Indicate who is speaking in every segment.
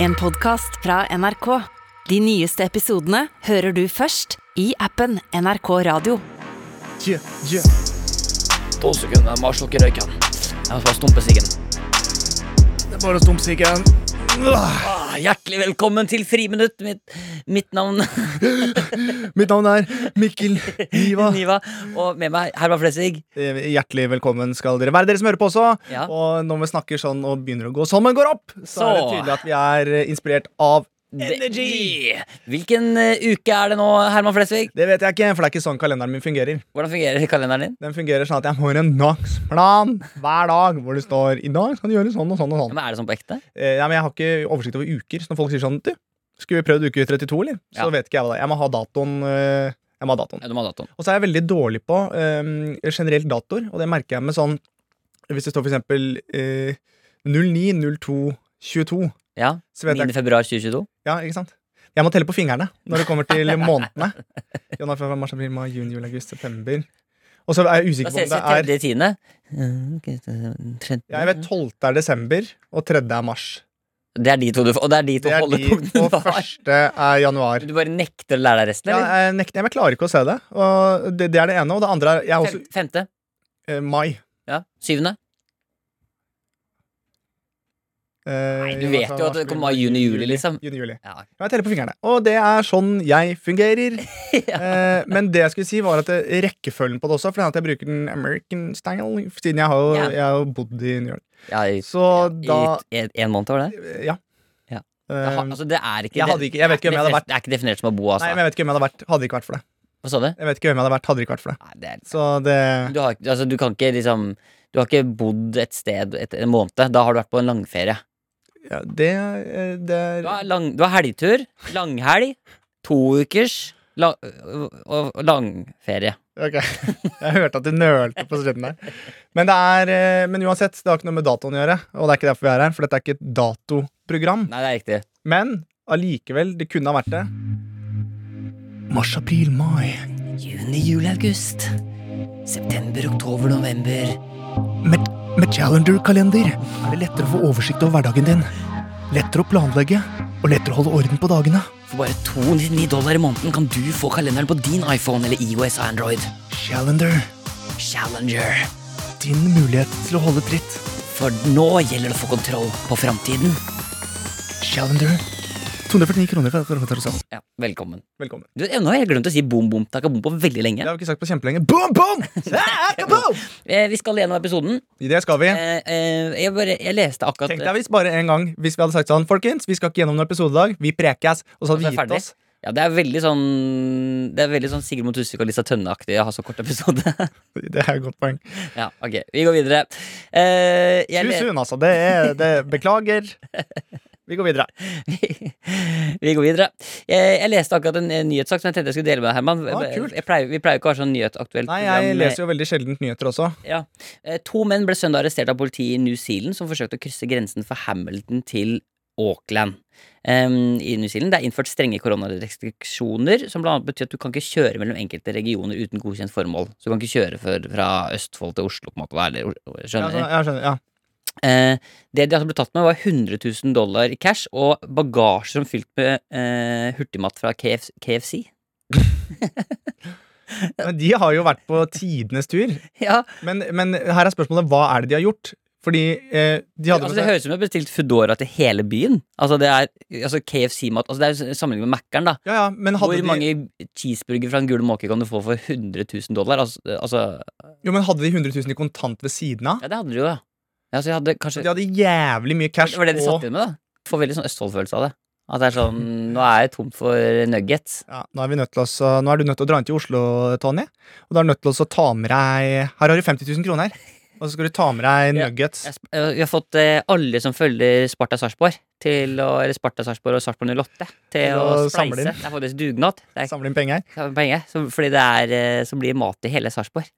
Speaker 1: En podcast fra NRK. De nyeste episodene hører du først i appen NRK Radio.
Speaker 2: Yeah, yeah.
Speaker 3: To sekunder, jeg må slukke røyken. Jeg må bare stumpe siggen.
Speaker 2: Det er bare å stumpe siggen. Ah,
Speaker 3: Ah, hjertelig velkommen til Friminutt. Mitt, mitt navn
Speaker 2: Mitt navn er Mikkel Niva.
Speaker 3: Niva. Og med meg Herman Flesvig.
Speaker 2: Eh, Hjertelig velkommen skal dere være, dere som hører på også.
Speaker 3: Ja.
Speaker 2: Og når vi snakker sånn og begynner å gå sammen, går opp, så, er det
Speaker 3: Så.
Speaker 2: tydelig at vi er eh, inspirert av Energy!
Speaker 3: Det- Hvilken eh, uke er det nå, Herman Flesvig?
Speaker 2: Det vet jeg ikke, for det er ikke sånn kalenderen min fungerer.
Speaker 3: Hvordan fungerer kalenderen din?
Speaker 2: Den fungerer sånn at jeg får en dagsplan hver dag hvor det står 'I dag skal du gjøre sånn og sånn og
Speaker 3: Ja,
Speaker 2: sånn'.
Speaker 3: men er det sånn på ekte?
Speaker 2: Eh, ja, men jeg har ikke oversikt over uker, så når folk sier sånn 'Du, skulle vi prøvd uke 32', eller? Så
Speaker 3: Ja.
Speaker 2: vet ikke jeg hva det er. Jeg må ha datoen. eh, Jeg må ha datoen.
Speaker 3: Ja, du må ha datoen.
Speaker 2: Og så er jeg veldig dårlig på øhm, generelt datoer, og det merker jeg med sånn Hvis det står for eksempel øh, 09.02.22,
Speaker 3: Ja.
Speaker 2: så vet
Speaker 3: 9.
Speaker 2: jeg
Speaker 3: februar 2022.
Speaker 2: Ja, ikke sant? Jeg må telle på fingrene når det kommer til månedene. Januar, februar, mars, april, mai, juni, juli, august, september. Og så er jeg
Speaker 3: Da
Speaker 2: usikker på
Speaker 3: ses
Speaker 2: om
Speaker 3: vi
Speaker 2: det er
Speaker 3: 3. tiende.
Speaker 2: ja, Jeg
Speaker 3: Mm-hmm.
Speaker 2: vet 12. er desember, og 3. er mars.
Speaker 3: Det er de to du får. Og det er de to
Speaker 2: Det er de,
Speaker 3: holdepunktene
Speaker 2: og
Speaker 3: du har.
Speaker 2: første er januar.
Speaker 3: Du bare nekter å lære deg resten,
Speaker 2: Ja,
Speaker 3: eller?
Speaker 2: jeg, nekter, jeg klarer ikke å se det. Og det, det er det ene. Og det andre er jeg er også
Speaker 3: Fem, femte.
Speaker 2: eh, mai.
Speaker 3: Ja. Syvende.
Speaker 2: Nei,
Speaker 3: Du vet jo at det kommer mai, juni, juli, liksom.
Speaker 2: Juni, juli.
Speaker 3: Ja.
Speaker 2: Ja, Jeg teller på fingrene. Og det er sånn jeg fungerer.
Speaker 3: Ja.
Speaker 2: Eh, men det jeg skulle si, var at eh, rekkefølgen på det også, for det er at jeg bruker den American style, siden jeg har jo,
Speaker 3: Ja.
Speaker 2: jeg har jo bodd i New York.
Speaker 3: ja i,
Speaker 2: Så da
Speaker 3: I et- en måned var det?
Speaker 2: Ja.
Speaker 3: Ja. Det
Speaker 2: Eh,
Speaker 3: har- altså, det er ikke
Speaker 2: jeg
Speaker 3: det-
Speaker 2: hadde ikke- jeg vet ikke
Speaker 3: det
Speaker 2: hvem jeg hadde
Speaker 3: er ikke definert- Det er ikke definert som å bo,
Speaker 2: Nei,
Speaker 3: altså.
Speaker 2: men jeg vet ikke hvem jeg hadde vært. Hadde det ikke vært for det.
Speaker 3: Hva sa du?
Speaker 2: Jeg vet ikke hvem jeg hadde vært, hadde det ikke vært for det.
Speaker 3: Nei, det er,
Speaker 2: Så det
Speaker 3: du, har, ikke- altså, du kan ikke liksom Du har ikke bodd et sted et, en måned. Da har du vært på en langferie.
Speaker 2: ja, Det, eh, det er
Speaker 3: Du har, lang, du har helgtur, langhelg, to ukers la, og, og langferie.
Speaker 2: Ok. Jeg hørte at du nølte på slutten der. Men, det er, eh, men uansett, det har ikke noe med datoen å gjøre, og det er ikke derfor vi er her, for dette er ikke et datoprogram.
Speaker 3: Nei, det er riktig.
Speaker 2: Men allikevel, det kunne ha vært det. Mars, april, mai.
Speaker 3: Juni, juli, august. September, oktober, november.
Speaker 2: Med, med Challenger-kalender er det lettere å få oversikt over hverdagen din. Lettere å planlegge, og lettere å holde orden på dagene.
Speaker 3: For bare 299 dollar i måneden kan du få kalenderen på din iPhone eller IOS og Android.
Speaker 2: Challenger,
Speaker 3: Challenger.
Speaker 2: din mulighet til å holde tritt.
Speaker 3: For nå gjelder det å få kontroll på framtiden.
Speaker 2: Challenger. 249 kroner for
Speaker 3: Ja, velkommen.
Speaker 2: Velkommen.
Speaker 3: Du, nå har jeg glemt å si bom, bom, takka, bom på veldig lenge.
Speaker 2: Det har vi ikke sagt på kjempelenge. Boom, boom! Boom!
Speaker 3: Eh, vi skal gjennom episoden.
Speaker 2: I det skal vi.
Speaker 3: Eh, eh, jeg, bare, jeg leste akkurat
Speaker 2: Tenk deg hvis bare en gang Hvis vi hadde sagt sånn, folkens, vi skal ikke gjennom noen episode i dag, vi prekes, og så
Speaker 3: Og
Speaker 2: hadde
Speaker 3: så
Speaker 2: vi
Speaker 3: er
Speaker 2: gitt
Speaker 3: ferdig.
Speaker 2: oss.
Speaker 3: ja, Det er veldig sånn Det er veldig sånn Sigrid Mot Husvik og Lisa Tønne-aktig å ha så kort episode.
Speaker 2: Det er et godt poeng.
Speaker 3: ja, ok, Vi går videre. Eh, jeg le-
Speaker 2: Tusen, altså. Det er det, Beklager. Vi går videre.
Speaker 3: vi går videre. Jeg, jeg leste akkurat en eh, nyhetssak som jeg tenkte jeg skulle dele med deg, Herman.
Speaker 2: Ah, kult.
Speaker 3: jeg pleier, vi pleier ikke å ha sånn nyhetsaktuelt
Speaker 2: Nei, jeg leser
Speaker 3: eh,
Speaker 2: jo veldig sjeldent nyheter også.
Speaker 3: Ja. Eh, To menn ble søndag arrestert av politiet i New Zealand som forsøkte å krysse grensen fra Hamilton til Auckland. Em, I New Zealand det er innført strenge koronarestriksjoner, som bl.a. betyr at du kan ikke kjøre mellom enkelte regioner uten godkjent formål. Så du kan ikke kjøre for, fra Østfold til Oslo, på en måte. da, Eller, o-
Speaker 2: Ja,
Speaker 3: skjønner
Speaker 2: så,
Speaker 3: du?
Speaker 2: jeg skjønner, ja.
Speaker 3: Eh, det de altså ble tatt med, var 100 000 dollar i cash og bagasje som fylt med eh, hurtigmat fra KFC. KFC.
Speaker 2: Men de har jo vært på tidenes tur.
Speaker 3: Ja,
Speaker 2: Men, men her er spørsmålet hva er det de har gjort? Fordi eh, de hadde
Speaker 3: altså,
Speaker 2: med
Speaker 3: det
Speaker 2: seg
Speaker 3: høres ut som de har bestilt Foodora til hele byen. Altså, det er altså, KFC-mat altså, Det er jo sammenlignet med Mækkern, da.
Speaker 2: ja, ja, men hadde
Speaker 3: Hvor
Speaker 2: de,
Speaker 3: mange cheeseburger fra en gul måke kan du få for 100 000 dollar? Altså, altså
Speaker 2: Jo, men hadde de 100 000 i kontant ved siden av?
Speaker 3: Ja, det hadde du jo, da. Ja, så jeg hadde kanskje
Speaker 2: Så de hadde jævlig mye cash.
Speaker 3: Det var det de
Speaker 2: og-
Speaker 3: satt inn med, da. Får veldig sånn Østfold-følelse av det. At det er sånn Nå er jeg tom for nuggets.
Speaker 2: ja, nå, er vi nødt til oss, å- nå er du nødt til å dra inn til Oslo, Tony. Og da er du nødt til oss å ta med deg Her har du 50 000 kroner. Og så skal du ta med deg
Speaker 3: Ja.
Speaker 2: nuggets.
Speaker 3: Jeg, sp- eh, vi har fått eh, alle som følger Sparta Sarpsborg, til å Eller Sparta Sarpsborg og Sarpsborg 08, til
Speaker 2: Til
Speaker 3: å
Speaker 2: å samle
Speaker 3: spleise.
Speaker 2: inn.
Speaker 3: Det er faktisk dugnad. Det er
Speaker 2: Samle inn penger.
Speaker 3: ikke poenget. Så, fordi det er eh, Så blir mat i hele Sarpsborg.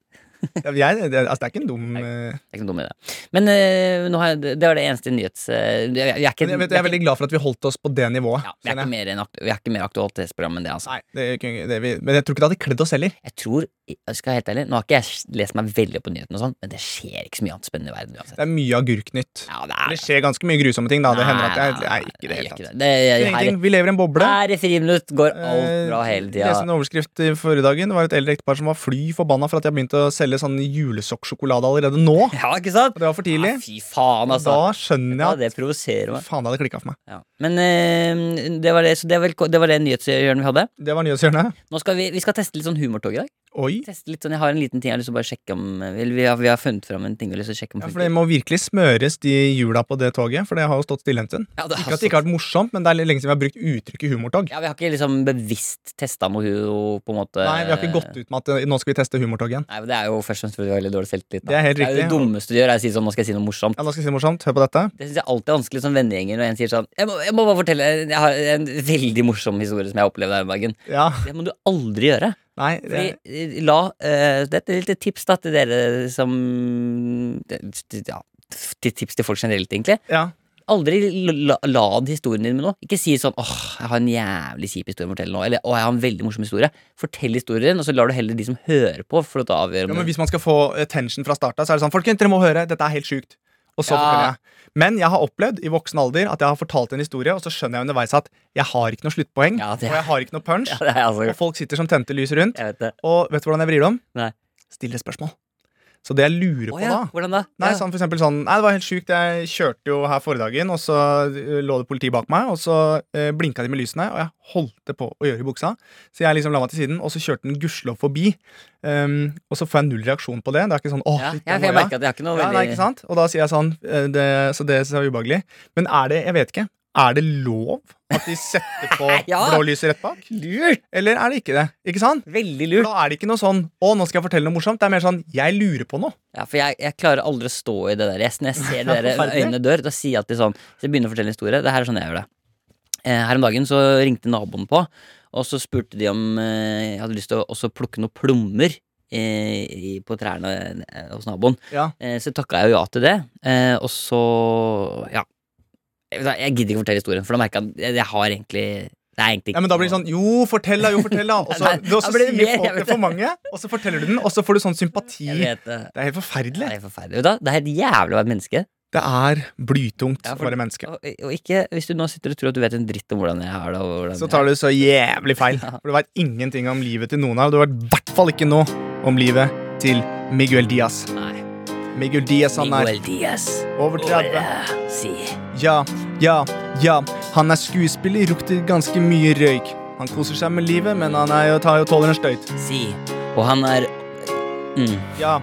Speaker 2: Ja, Jeg, det, altså, det er ikke en dum eh,
Speaker 3: Det er ikke noe dum idé. Men eh, nå har jeg, det var det eneste nyhets... eh, jeg, jeg, er ikke,
Speaker 2: men jeg, vet, jeg er
Speaker 3: jeg er ikke-
Speaker 2: veldig glad for at vi holdt oss på det nivået.
Speaker 3: ja, vi er
Speaker 2: kjenner
Speaker 3: ikke
Speaker 2: jeg.
Speaker 3: mer, enn aktu- vi er ikke mer aktualitetsprogram enn det, altså.
Speaker 2: Nei, det, kunne- det, vi, men jeg tror ikke det hadde kledd oss heller.
Speaker 3: Jeg tror, jeg skal være helt ærlig, Nå har ikke jeg lest meg veldig opp på nyhetene, og sånn, men det skjer ikke så mye annet spennende i verden uansett.
Speaker 2: Det er mye agurknytt.
Speaker 3: Ja, det
Speaker 2: Det
Speaker 3: er
Speaker 2: skjer ganske mye grusomme ting, da. Det
Speaker 3: Nei,
Speaker 2: hender at jeg,
Speaker 3: nei,
Speaker 2: nei, ikke i det
Speaker 3: nei,
Speaker 2: hele
Speaker 3: gjør
Speaker 2: tatt.
Speaker 3: ikke det. Det- jeg- her-
Speaker 2: Ingenting. Vi lever i en boble.
Speaker 3: Her i friminutt går alt
Speaker 2: Eh,
Speaker 3: bra hele
Speaker 2: Leste
Speaker 3: tida.
Speaker 2: en overskrift i forrige dagen. Det var et eldre ektepar som var fly forbanna for at de har begynt å selge sånn julesokksjokolade allerede nå. Og
Speaker 3: Ja, ikke sant?
Speaker 2: det var for tidlig.
Speaker 3: Ja, fy faen,
Speaker 2: Da
Speaker 3: altså.
Speaker 2: skjønner jeg
Speaker 3: Ja,
Speaker 2: at
Speaker 3: det provoserer meg.
Speaker 2: Faen, det hadde klikka for meg.
Speaker 3: Ja. Men eh, det var det, så det, var, det var det nyhetshjørnet vi hadde.
Speaker 2: Det var nyhetshjørnet.
Speaker 3: Nå skal vi, vi skal teste litt sånn humortog i dag.
Speaker 2: Oi.
Speaker 3: Teste litt sånn, Jeg har en liten ting jeg har lyst til å bare sjekke om eh, eller vi har, vi har funnet fram en ting jeg har lyst til å sjekke om
Speaker 2: Ja, for det
Speaker 3: funker.
Speaker 2: må virkelig smøres de hjula på det toget, for det har jo stått stille en stund.
Speaker 3: Ja, det
Speaker 2: Ikke at det ikke har vært morsomt, men det er lenge siden vi har brukt uttrykket humortog.
Speaker 3: ja, Vi har ikke liksom bevisst testa noe hu- på en måte
Speaker 2: Nei, vi har ikke gått ut med at eh, nå skal vi teste humortog igjen.
Speaker 3: Nei, men Det er jo først og fremst fordi vi har veldig dårlig selvtillit. da.
Speaker 2: Det er helt
Speaker 3: det,
Speaker 2: riktig.
Speaker 3: dummeste du gjør, er å si sånn Nå skal jeg si noe morsomt.
Speaker 2: Ja, nå skal jeg si noe morsomt. Hør på dette.
Speaker 3: Det syns jeg alltid er vanskelig som vennegjenger når en sier sånn jeg må, jeg må bare fortelle Jeg har en veldig morsom historie som jeg opplevde her om dagen.
Speaker 2: Ja,
Speaker 3: Det må du aldri gjøre.
Speaker 2: nei, det,
Speaker 3: Fordi, eh, la eh, Dette er et lite tips da til dere som det- Ja, til tips til folk generelt, egentlig.
Speaker 2: ja.
Speaker 3: Aldri la- lad historien din med noe. Ikke si sånn 'Åh, jeg har en jævlig kjip historie å fortelle nå', eller 'Åh, jeg har en veldig morsom historie'. Fortell historien, og så lar du heller de som hører på, få lov til å avgjøre.
Speaker 2: ja,
Speaker 3: om
Speaker 2: men
Speaker 3: det-
Speaker 2: hvis man skal få attention fra starten, så er det sånn, folkens, dere må høre, dette er helt sykt. Og så
Speaker 3: Ja.
Speaker 2: forteller jeg. Men jeg har opplevd i voksen alder at jeg har fortalt en historie, og så skjønner jeg underveis at jeg har ikke noe sluttpoeng,
Speaker 3: Ja, det-
Speaker 2: og jeg har ikke noe punch,
Speaker 3: Ja, det er altså
Speaker 2: og folk sitter som tente lys rundt,
Speaker 3: Jeg vet det.
Speaker 2: og vet du hvordan jeg vrir det om?
Speaker 3: Nei.
Speaker 2: Stiller spørsmål. Så det jeg lurer
Speaker 3: Å
Speaker 2: på
Speaker 3: ja,
Speaker 2: da,
Speaker 3: hvordan da?
Speaker 2: Nei,
Speaker 3: ja.
Speaker 2: sånn for eksempel sånn Nei, det var helt sjukt. Jeg kjørte jo her forrige dagen, og så eh, lå det politi bak meg, og så eh, blinka de med lysene, og jeg holdt det på å gjøre i buksa. Så jeg liksom la meg til siden, og så kjørte den gudskjelov forbi. Um, og så får jeg null reaksjon på det. Det er ikke sånn åh,
Speaker 3: ja,
Speaker 2: litt,
Speaker 3: jeg,
Speaker 2: den
Speaker 3: jeg
Speaker 2: var
Speaker 3: merker at jeg har ikke noe
Speaker 2: ja,
Speaker 3: veldig
Speaker 2: nei, ikke sant? Og da sier jeg sånn eh, det, Så det er ubehagelig. Men er det Jeg vet ikke. Er det lov at de setter på
Speaker 3: Ja.
Speaker 2: blå lyset rett bak?
Speaker 3: Lurt!
Speaker 2: Eller er det ikke det? Ikke sant?
Speaker 3: Veldig
Speaker 2: For
Speaker 3: lurt.
Speaker 2: da er det ikke noe sånn 'Å, nå skal jeg fortelle noe morsomt'. Det er mer sånn 'Jeg lurer på noe'.
Speaker 3: Ja, for jeg, jeg klarer aldri å stå i det der. Jeg, når jeg ser det der
Speaker 2: Forferdelig.
Speaker 3: øynene dør, da sier jeg alltid sånn Hvis jeg begynner å fortelle en historie Det her er sånn jeg gjør det. Eh, her om dagen så ringte naboen på, og så spurte de om eh, jeg hadde lyst til å også plukke noen plommer. eh, I, på trærne eh, hos naboen.
Speaker 2: Ja.
Speaker 3: Eh, så takka jeg jo ja til det. Eh, og så Ja. Jeg, jeg gidder ikke fortelle historien, for da merker jeg at jeg, jeg har egentlig Det er egentlig
Speaker 2: Ja, men da blir det sånn Jo, fortell, da! Jo, fortell, da! Og så,
Speaker 3: Nei,
Speaker 2: og så
Speaker 3: da blir det
Speaker 2: sier
Speaker 3: mer, jeg
Speaker 2: folk
Speaker 3: vet
Speaker 2: det for mange, og så forteller du den, og så får du sånn sympati.
Speaker 3: Jeg
Speaker 2: Det
Speaker 3: vet det.
Speaker 2: er helt forferdelig.
Speaker 3: Det er forferdelig. Vet du hva? Det er helt jævlig å være et menneske.
Speaker 2: Det er blytungt
Speaker 3: Ja,
Speaker 2: å
Speaker 3: for-
Speaker 2: være menneske.
Speaker 3: Og, og ikke, hvis du nå sitter og tror at du vet en dritt om hvordan jeg har det og hvordan
Speaker 2: Så tar du så jævlig feil. For du veit ingenting om livet til noen av og Du vet i hvert fall ikke noe om livet til Miguel Diaz.
Speaker 3: jeg... Nei,
Speaker 2: Miguel Diaz, han er
Speaker 3: Miguel Diaz
Speaker 2: over 30.
Speaker 3: Hola, Si
Speaker 2: Ja, ja, ja. Han er skuespiller, lukter ganske mye røyk. Han koser seg med livet, men han er jo, tar jo tåler en støyt.
Speaker 3: Si Og han er mm.
Speaker 2: Ja.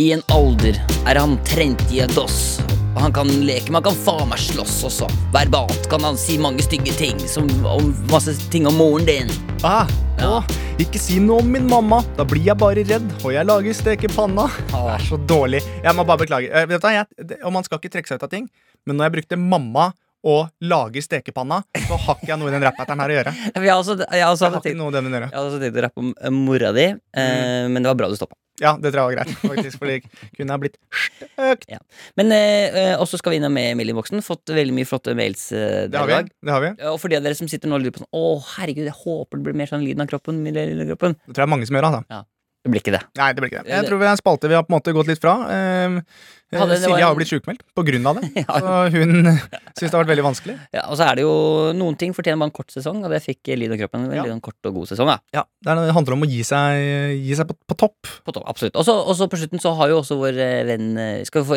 Speaker 3: I en alder er han trentie doss Og han kan leke, men han kan faen meg slåss også Verbalt kan han si mange stygge ting Som om masse ting om moren din
Speaker 2: Ah,
Speaker 3: Ja.
Speaker 2: Å, ikke si noe om min mamma, da blir jeg bare redd, og jeg lager stek i panna. Det er så dårlig. Jeg må bare beklage. Eh, vet du, hva, jeg, det, og man skal ikke trekke seg ut av ting, men når jeg brukte mamma og lager stekepanna, så har ikke jeg noe i den rappatteren her å gjøre.
Speaker 3: Jeg har også, jeg har også,
Speaker 2: Jeg har ikke
Speaker 3: tenkt,
Speaker 2: noe i den å gjøre.
Speaker 3: jeg har også tenkt å rappe om eh, mora di eh, Men det var bra du stoppet
Speaker 2: Ja, det tror jeg var greit, faktisk, for det kunne jeg blitt støkt.
Speaker 3: Men eh, eh, også skal vi innom med mailinnboksen Fått veldig mye flotte mails eh,
Speaker 2: Det har
Speaker 3: der i
Speaker 2: vi.
Speaker 3: dag.
Speaker 2: det har vi.
Speaker 3: Eh, Og for de av dere som sitter nå og lurer på sånn Å, herregud, jeg håper det blir mer sånn lyden av kroppen. min lille, lille kroppen
Speaker 2: Det tror jeg er mange som gjør. Altså.
Speaker 3: Det blir ikke det.
Speaker 2: Nei, det blir ikke det. Jeg tror vi er en spalte vi har på en måte gått litt fra. Eh, eh,
Speaker 3: Ja, det- det var
Speaker 2: Silje har
Speaker 3: en-
Speaker 2: jo blitt sjukmeldt på grunn av det,
Speaker 3: Ja.
Speaker 2: så hun syns det har vært veldig vanskelig.
Speaker 3: Ja, og så er det jo noen ting fortjener bare en kort sesong, og det fikk eh, lyden av kroppen. En
Speaker 2: Ja.
Speaker 3: veldig kort og god sesong, da.
Speaker 2: Ja, Det er noe- det handler om å gi seg, gi seg på, på topp.
Speaker 3: På topp, absolutt. Og så og så på slutten så har jo også vår eh, venn eh, skal vi få,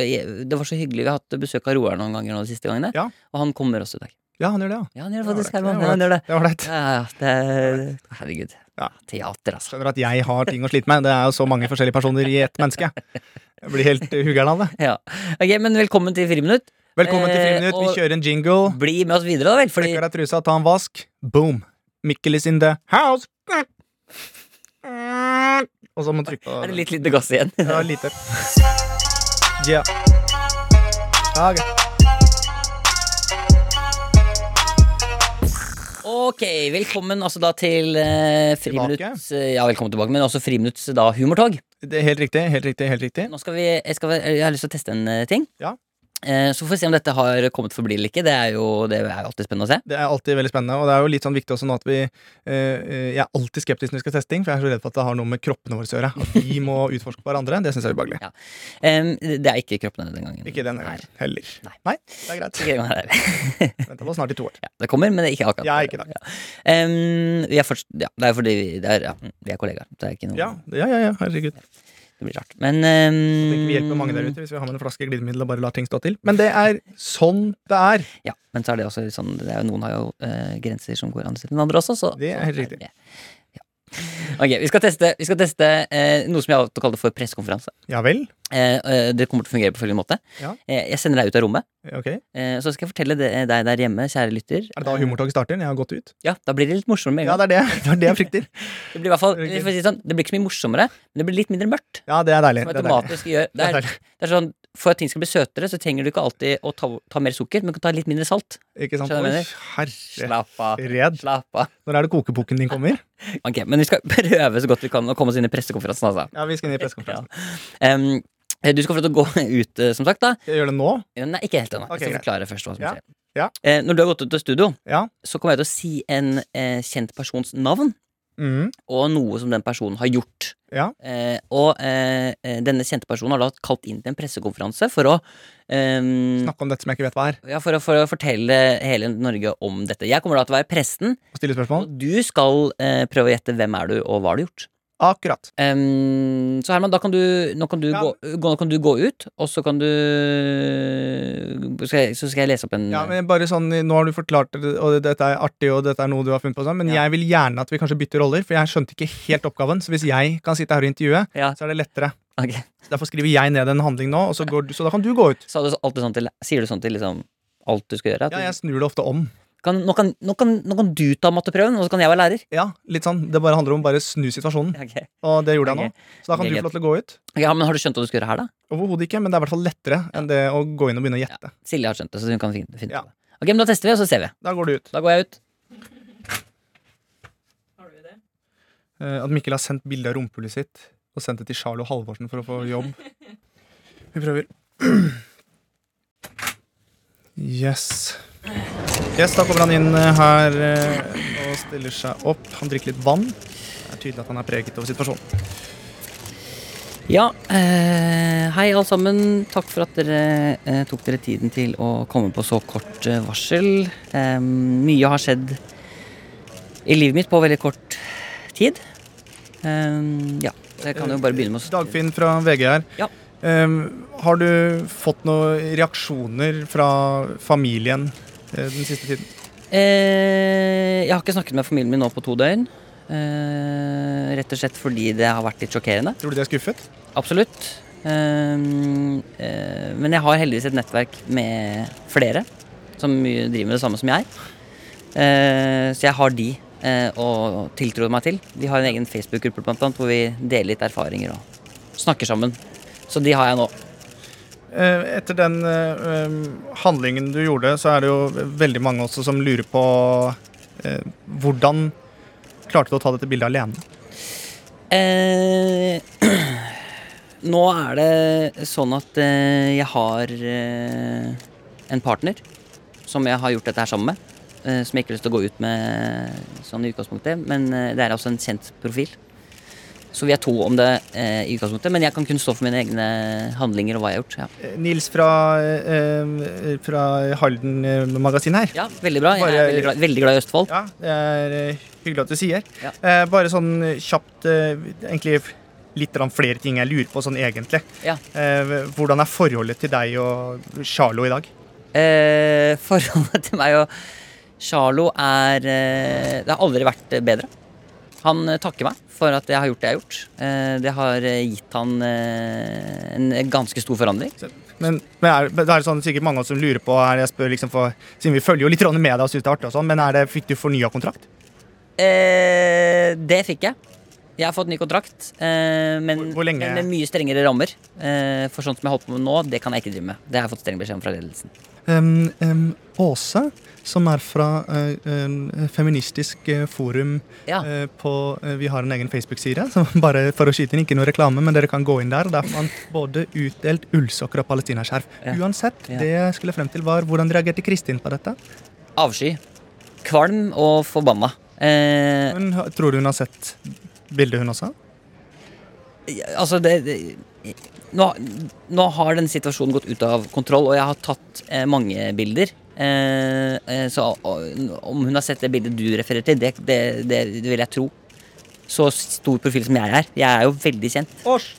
Speaker 3: Det var så hyggelig, vi har hatt besøk av Roar noen ganger nå de siste gangene.
Speaker 2: Ja.
Speaker 3: Og han kommer også i dag.
Speaker 2: Ja, han gjør det, ja.
Speaker 3: Ja, han gjør
Speaker 2: Det
Speaker 3: det
Speaker 2: var
Speaker 3: faktisk.
Speaker 2: det.
Speaker 3: Herman.
Speaker 2: Det var
Speaker 3: Ja, han gjør det.
Speaker 2: Det er ålreit.
Speaker 3: Ja, ja, det er- Herregud.
Speaker 2: Ja.
Speaker 3: Teater, altså.
Speaker 2: Skjønner at jeg har ting å slite med. Det er jo så mange forskjellige personer i ett menneske. Jeg blir helt eh, huggeren av det.
Speaker 3: Ja. Ok, Men velkommen til Friminutt.
Speaker 2: Velkommen til
Speaker 3: Eh,
Speaker 2: Friminutt. Vi
Speaker 3: og-
Speaker 2: kjører en jingle.
Speaker 3: Bli med oss videre, da vel. Fordi
Speaker 2: Flekker deg trusa, ta en vask. Boom. Mikkel is in the house. Og så må man trykke på
Speaker 3: er det litt lite gass igjen.
Speaker 2: Ja, lite. Yeah. Ok.
Speaker 3: Å, Ok, velkommen altså da til eh, Friminutts eh, Ja, velkommen tilbake, men også Friminutts da humortog.
Speaker 2: Det er helt riktig. helt riktig, helt riktig
Speaker 3: Nå skal vi, jeg, skal, jeg har lyst til å teste en eh, ting.
Speaker 2: Ja.
Speaker 3: Eh, så får vi se om dette har kommet for å bli eller ikke. Det er jo, det er jo alltid spennende å se.
Speaker 2: Det er alltid veldig spennende, og det er jo litt sånn viktig også nå at vi eh, eh, Jeg er alltid skeptisk når vi skal teste ting, for jeg er så redd for at det har noe med kroppene våre å gjøre. At vi må utforske hverandre. Det syns jeg er ubehagelig.
Speaker 3: Em, det er ikke kroppene den gangen.
Speaker 2: Ikke denne
Speaker 3: Nei.
Speaker 2: gangen heller.
Speaker 3: Nei.
Speaker 2: Nei, det er greit.
Speaker 3: Ikke den gangen her.
Speaker 2: Venta på snart i to år.
Speaker 3: Ja, det kommer, men det er ikke akkurat.
Speaker 2: Ja, ikke takk.
Speaker 3: Em, vi er fortsatt, ja, det er fordi vi, det er, ja, vi er kollegaer. Det er ikke noe
Speaker 2: Ja, ja, ja, ja herregud.
Speaker 3: Det blir rart. Men em,
Speaker 2: Tenker vi hjelper mange der ute hvis vi har med en flaske glidemiddel og bare lar ting stå til. Men det er sånn det er.
Speaker 3: Ja, men så er det også litt sånn det er jo, Noen har jo eh, grenser som går andre steder enn andre også, så
Speaker 2: Det er helt
Speaker 3: så
Speaker 2: riktig.
Speaker 3: det. Ja. Ok, vi skal teste, vi skal teste eh, noe som jeg har valgt å kalle det for pressekonferanse.
Speaker 2: Ja vel?
Speaker 3: Eh, eh, det kommer til å fungere på følgende måte.
Speaker 2: Ja.
Speaker 3: Eh, jeg sender deg ut av rommet,
Speaker 2: Ok. Er
Speaker 3: eh, så skal jeg fortelle det, deg der hjemme, kjære lytter.
Speaker 2: det da humortoget starter? Jeg har gått ut?
Speaker 3: Ja, da blir det litt morsommere med en
Speaker 2: Ja,
Speaker 3: gang.
Speaker 2: det er det, det, er det jeg frykter.
Speaker 3: det, blir i hvert fall,
Speaker 2: det er
Speaker 3: vi
Speaker 2: gøy.
Speaker 3: får si det sånn, det blir ikke så mye morsommere, men det blir litt mindre mørkt.
Speaker 2: Ja, det er deilig.
Speaker 3: Som
Speaker 2: Det er deilig.
Speaker 3: automatisk gjør
Speaker 2: Det
Speaker 3: det
Speaker 2: er
Speaker 3: er,
Speaker 2: deilig.
Speaker 3: det er sånn, For at ting skal bli søtere, så trenger du ikke alltid å ta, ta mer sukker, men du kan ta litt mindre salt.
Speaker 2: Ikke sant?
Speaker 3: Skjønner
Speaker 2: Oi,
Speaker 3: jeg
Speaker 2: herre
Speaker 3: Slapp av.
Speaker 2: Redd.
Speaker 3: Slapp av.
Speaker 2: Når er det kokepukken din kommer?
Speaker 3: Ok, Men vi skal prøve så godt vi kan å komme oss inn i pressekonferansen. Altså.
Speaker 2: Ja, Vi skal inn i pressekonferansen.
Speaker 3: Em, eh, du skal få lov til å gå ut, eh, som sagt. da Eh,
Speaker 2: Skal jeg gjøre det nå?
Speaker 3: Nei, ikke helt ennå.
Speaker 2: Ok,
Speaker 3: jeg skal forklare først hva som
Speaker 2: Ja.
Speaker 3: skjer.
Speaker 2: Ja.
Speaker 3: Eh, når du har gått ut av studio,
Speaker 2: Ja.
Speaker 3: så kommer jeg til å si en eh, kjent persons navn
Speaker 2: Mm.
Speaker 3: og noe som den personen har gjort.
Speaker 2: Ja.
Speaker 3: Eh, og eh, eh, denne kjente personen har da kalt inn til en pressekonferanse for å em,
Speaker 2: Snakke om dette som jeg ikke vet hva er,
Speaker 3: ja, for, å, for å fortelle hele Norge om dette. Jeg kommer da til å være presten,
Speaker 2: og stille spørsmål.
Speaker 3: og du skal eh, prøve å gjette hvem er du, og hva har du gjort.
Speaker 2: Akkurat.
Speaker 3: Em, så Herman, da kan du, nå, kan du
Speaker 2: Ja.
Speaker 3: gå, gå, nå kan du gå ut, og så kan du skal jeg, Så skal jeg lese opp en
Speaker 2: Ja, men bare sånn, Nå har du forklart det, og dette er artig, og dette er noe du har funnet på, og sånn, men
Speaker 3: Ja.
Speaker 2: jeg vil gjerne at vi kanskje bytter roller, for jeg skjønte ikke helt oppgaven. Så hvis jeg kan sitte her og intervjue,
Speaker 3: Ja.
Speaker 2: så er det lettere.
Speaker 3: Ok.
Speaker 2: Så Derfor skriver jeg ned en handling nå, og så, går du, så da kan du gå ut.
Speaker 3: Sa du så- alltid sånn til, sier du sånn til liksom alt du skal gjøre? At
Speaker 2: Ja,
Speaker 3: du-
Speaker 2: jeg snur det ofte om.
Speaker 3: kan, nå, kan, nå, kan, nå kan du ta matteprøven, og så kan jeg være lærer.
Speaker 2: Ja, litt sånn, Det bare handler om å bare snu situasjonen,
Speaker 3: Ok,
Speaker 2: og det gjorde jeg
Speaker 3: Ok.
Speaker 2: nå. Så da kan
Speaker 3: Ok,
Speaker 2: du få lov til å gå ut.
Speaker 3: Ok, ja, men Har du skjønt hva du skal gjøre her, da?
Speaker 2: Overhodet ikke, men det er i hvert fall lettere enn det å gå inn og begynne å gjette.
Speaker 3: Silje har skjønt det, så hun kan finne, finne
Speaker 2: Ja.
Speaker 3: på det. Ok, men Da tester vi, og så ser vi.
Speaker 2: Da går du ut.
Speaker 3: Da går jeg ut.
Speaker 2: Eh, At Mikkel har sendt bilde av rumpehullet sitt og sendt det til Charlo Halvorsen for å få jobb. Vi prøver. Yes. Yes, Da kommer han inn eh, her eh, og stiller seg opp. Han drikker litt vann. Det er tydelig at han er preget over situasjonen.
Speaker 3: Ja, eh, hei alle sammen. Takk for at dere eh, tok dere tiden til å komme på så kort eh, varsel. Eh, mye har skjedd i livet mitt på veldig kort tid. Eh, ja, så jeg kan jo bare begynne med å
Speaker 2: Eh, Dagfinn fra VG her.
Speaker 3: Ja.
Speaker 2: Eh, har du fått noen reaksjoner fra familien eh, den siste tiden?
Speaker 3: Eh, jeg har ikke snakket med familien min nå på to døgn. Eh, rett og slett fordi det har vært litt sjokkerende.
Speaker 2: Tror du de er skuffet?
Speaker 3: Absolutt. Ehm, eh, men jeg har heldigvis et nettverk med flere som driver med det samme som jeg. Eh, så jeg har de eh, å tiltro meg til. De har en egen Facebook-gruppe blant annet, hvor vi deler litt erfaringer og snakker sammen. Så de har jeg nå.
Speaker 2: Eh, Etter den eh, em, handlingen du gjorde, så er det jo veldig mange også som lurer på eh, hvordan klarte du å ta dette bildet alene?
Speaker 3: Eh, nå er det sånn at eh, jeg har eh, en partner som jeg har gjort dette her sammen med. Eh, som jeg ikke har lyst til å gå ut med sånn i utgangspunktet. Men eh, det er altså en kjent profil. Så vi er to om det eh, i utgangspunktet. Men jeg kan kun stå for mine egne handlinger og hva jeg har gjort. Ja,
Speaker 2: Eh, Nils fra, eh, fra Halden-magasinet her.
Speaker 3: ja veldig bra. Jeg er
Speaker 2: Bare-
Speaker 3: veldig glad, veldig glad i Østfold.
Speaker 2: Ja, det er eh, hyggelig at du sier.
Speaker 3: Ja.
Speaker 2: Eh, bare sånn kjapt eh, Egentlig litt grann flere ting jeg lurer på sånn egentlig.
Speaker 3: Ja.
Speaker 2: Eh, hvordan er forholdet til deg og Charlo i dag?
Speaker 3: Eh, forholdet til meg og Charlo er eh, Det har aldri vært bedre. Han eh, takker meg for at jeg har gjort det jeg har gjort. Eh, det har eh, gitt han eh, en ganske stor forandring.
Speaker 2: Men, men er, men det er sånn, sikkert mange av oss som lurer på her, jeg spør liksom for, Siden vi følger jo litt grann med deg og synes det er artig, og sånn, men er det, fikk du fornya kontrakt?
Speaker 3: Eh, det fikk jeg. Jeg har fått ny kontrakt, eh, men,
Speaker 2: Hvor- hvor lenge-
Speaker 3: men med mye strengere rammer. Eh, for sånt som jeg holdt på med nå, det kan jeg ikke drive med. Det har jeg fått streng beskjed om fra ledelsen.
Speaker 2: Um, um, Åse som er fra eh, eh, Feministisk eh, forum
Speaker 3: Ja.
Speaker 2: eh, på eh, Vi har en egen Facebook-side, så bare for å skyte inn, ikke noe reklame, men dere kan gå inn der. og Der får man både utdelt ullsokker og palestinaskjerf.
Speaker 3: Ja.
Speaker 2: Uansett,
Speaker 3: Ja.
Speaker 2: det jeg skulle frem til, var hvordan reagerte Kristin på dette?
Speaker 3: Avsky. Kvalm og forbanna. Eh,
Speaker 2: Hun, tror du hun har sett bildet, hun også?
Speaker 3: altså det, det nå, nå har den situasjonen gått ut av kontroll, og jeg har tatt eh, mange bilder. Eh, eh, så og, om hun har sett det bildet du refererer til, det, det, det, det vil jeg tro. Så stor profil som jeg er. Jeg er jo veldig kjent.
Speaker 2: Ås-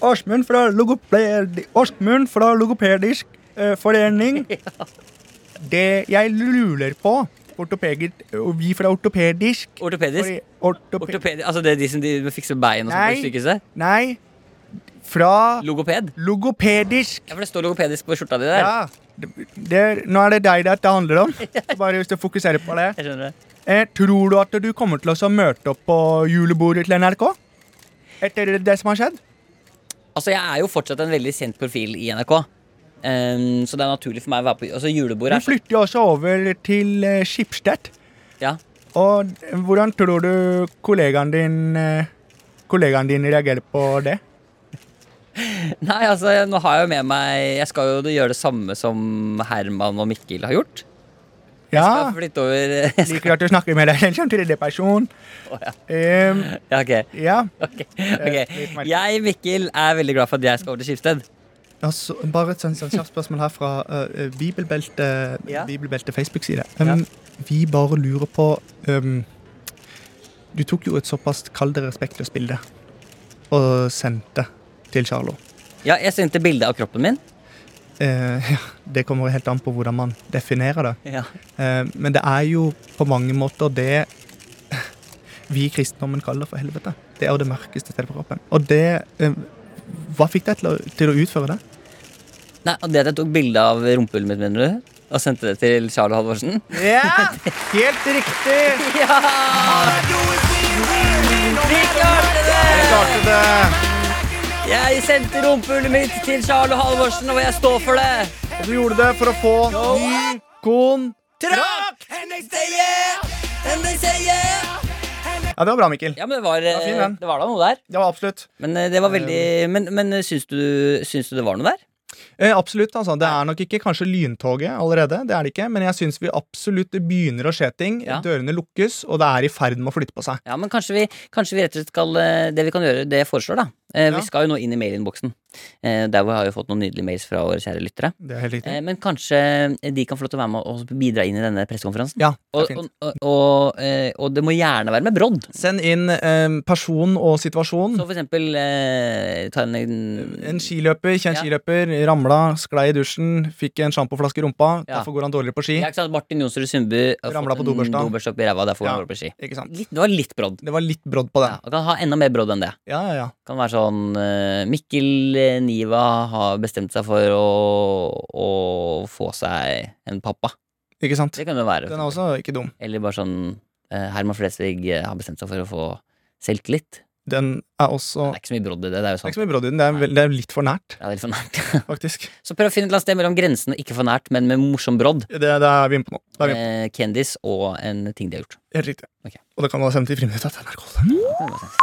Speaker 2: Åsmund fra, logopedi, Åsmund fra Logopedisk eh, Forening. Det jeg lurer på ortopedisk, og Vi fra Ortopedisk
Speaker 3: Ortopedisk.
Speaker 2: fore- ortope-
Speaker 3: Ortopedi, altså det er de som de fikser bein og sånn
Speaker 2: Nei.
Speaker 3: på sykehuset?
Speaker 2: Nei, fra
Speaker 3: Logoped?
Speaker 2: Logopedisk.
Speaker 3: Ja, for det står logopedisk på skjorta di der.
Speaker 2: Ja. Det, det, nå er det deg det dette handler om. Bare hvis du fokuserer på det.
Speaker 3: Jeg skjønner det.
Speaker 2: Eh, tror du at du kommer til å møte opp på julebordet til NRK? Etter det som har skjedd?
Speaker 3: Altså, jeg er jo fortsatt en veldig kjent profil i NRK. Ehm, så det er naturlig for meg å være på Altså, julebord
Speaker 2: Du
Speaker 3: er så
Speaker 2: flytter jo også over til eh, Schibsted.
Speaker 3: Ja.
Speaker 2: Og hvordan tror du kollegaen din eh, Kollegaen din reagerer på det?
Speaker 3: Nei, altså, nå har jeg jo med meg Jeg skal jo gjøre det samme som Herman og Mikkel har gjort. Jeg
Speaker 2: Ja,
Speaker 3: skal flytte over jeg skal,
Speaker 2: liker at du snakker med deg selv som tredjeperson.
Speaker 3: ja.
Speaker 2: Um,
Speaker 3: ja, ok.
Speaker 2: ja.
Speaker 3: ok,
Speaker 2: Det er litt
Speaker 3: ok.
Speaker 2: merkelig.
Speaker 3: Jeg, Mikkel, er veldig glad for at jeg skal over til Skipsted.
Speaker 2: Altså, bare et sånt, sånt kjapt spørsmål her fra eh, Bibelbelte,
Speaker 3: Ja.
Speaker 2: Bibelbelte Facebook-side. Um, Vi bare lurer på um, Du tok jo et såpass kaldt og respektløst bilde og sendte til Charlo.
Speaker 3: Ja, jeg sendte bilde av kroppen min.
Speaker 2: Eh, ja, det kommer helt an på hvordan man definerer det.
Speaker 3: Ja.
Speaker 2: Eh, Men det er jo på mange måter det vi i kristendommen kaller for helvete. Det er jo det mørkeste stedet på kroppen. Og det eh, Hva fikk deg til, å- til å utføre det?
Speaker 3: Nei, og det at jeg tok bilde av rumpehullet mitt, mener du? Og sendte det til Charlo Halvorsen?
Speaker 2: Ja! Helt riktig!
Speaker 3: Ja! Vi klarte det!
Speaker 2: Klarte det!
Speaker 3: Jeg sendte rumpehullet mitt til Charlo Halvorsen, og jeg står for det!
Speaker 2: Og du gjorde det for å få ny kon...
Speaker 3: Trakk! And they say yeah! And they say yeah!
Speaker 2: Ja, det var bra, Mikkel.
Speaker 3: Ja, men det var,
Speaker 2: var fin, den.
Speaker 3: det var da noe der.
Speaker 2: Det var absolutt.
Speaker 3: Men eh, det var veldig Men, men eh, syns, du, syns du det var noe der?
Speaker 2: Eh, absolutt, altså. Det er nok ikke kanskje lyntoget allerede, det er det ikke, men jeg syns vi absolutt det begynner å skje ting.
Speaker 3: Ja.
Speaker 2: Dørene lukkes, og det er i ferd med å flytte på seg.
Speaker 3: Ja, men kanskje vi, kanskje vi rett og slett skal eh, Det vi kan gjøre, det jeg foreslår, da. Eh,
Speaker 2: Ja.
Speaker 3: Vi skal jo nå inn i mailinnboksen. Eh, Der hvor jeg har jo fått noen nydelige mails fra våre kjære lyttere.
Speaker 2: Det er helt riktig.
Speaker 3: Eh, Men kanskje de kan få lov til å være med og bidra inn i denne pressekonferansen.
Speaker 2: Ja, det er
Speaker 3: Og,
Speaker 2: fint.
Speaker 3: og, og, og, eh, og det må gjerne være med brodd.
Speaker 2: Send inn eh, person og situasjon.
Speaker 3: Så for eksempel eh, ta en,
Speaker 2: En skiløper, kjent
Speaker 3: Ja.
Speaker 2: skiløper, ramla, sklei i dusjen, fikk en sjampoflaske i rumpa.
Speaker 3: Ja.
Speaker 2: Derfor går han dårligere på ski.
Speaker 3: Ja, ikke sant? Martin Jonsrud Sundby har
Speaker 2: Ramla
Speaker 3: fått
Speaker 2: på
Speaker 3: en
Speaker 2: dobørsta.
Speaker 3: opp i ræva. Derfor går
Speaker 2: Ja.
Speaker 3: han over på ski.
Speaker 2: Ikke sant?
Speaker 3: Litt, det var litt brodd.
Speaker 2: Det var litt brodd på det.
Speaker 3: Ja, og kan ha enda mer brodd enn det.
Speaker 2: Ja, ja, ja.
Speaker 3: Kan være sånn eh, Mikkel eh, Niva har bestemt seg for å, å få seg en pappa.
Speaker 2: Ikke sant?
Speaker 3: Det kan det være.
Speaker 2: Den er også ikke dum.
Speaker 3: Eller bare sånn eh, Herman Flesvig eh, har bestemt seg for å få selvtillit.
Speaker 2: Den er også
Speaker 3: Det er ikke så mye brodd i det. Det er jo
Speaker 2: Det er
Speaker 3: sant.
Speaker 2: ikke så mye brodd i den. Det er, vel- det er litt for nært,
Speaker 3: Ja, det er litt for nært.
Speaker 2: faktisk.
Speaker 3: Så prøv å finne et eller annet sted mellom grensen og ikke for nært, men med morsom brodd.
Speaker 2: Det, det er vi inne på nå. Det er vi inne på.
Speaker 3: Eh, Kendis og en ting de har gjort.
Speaker 2: Helt riktig.
Speaker 3: Ok.
Speaker 2: Og det kan være sendt i friminuttet til NRK.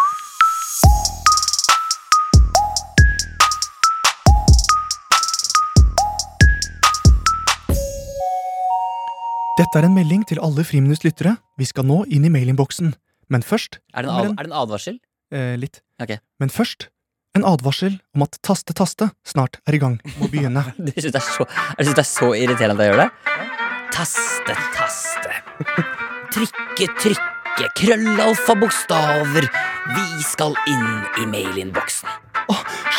Speaker 2: Dette er en melding til alle Friminutts lyttere. Vi skal nå inn i mailinnboksen. Men først
Speaker 3: Er det en, ad, er det en advarsel?
Speaker 2: eh, Litt.
Speaker 3: Ok.
Speaker 2: Men først en advarsel om at Taste Taste snart er i gang med å begynne.
Speaker 3: Du syns det, er så- jeg synes det er så irriterende at jeg gjør det? Taste, taste. Trykke, trykke. Krøllalfa bokstaver. Vi skal inn i mailinnboksen.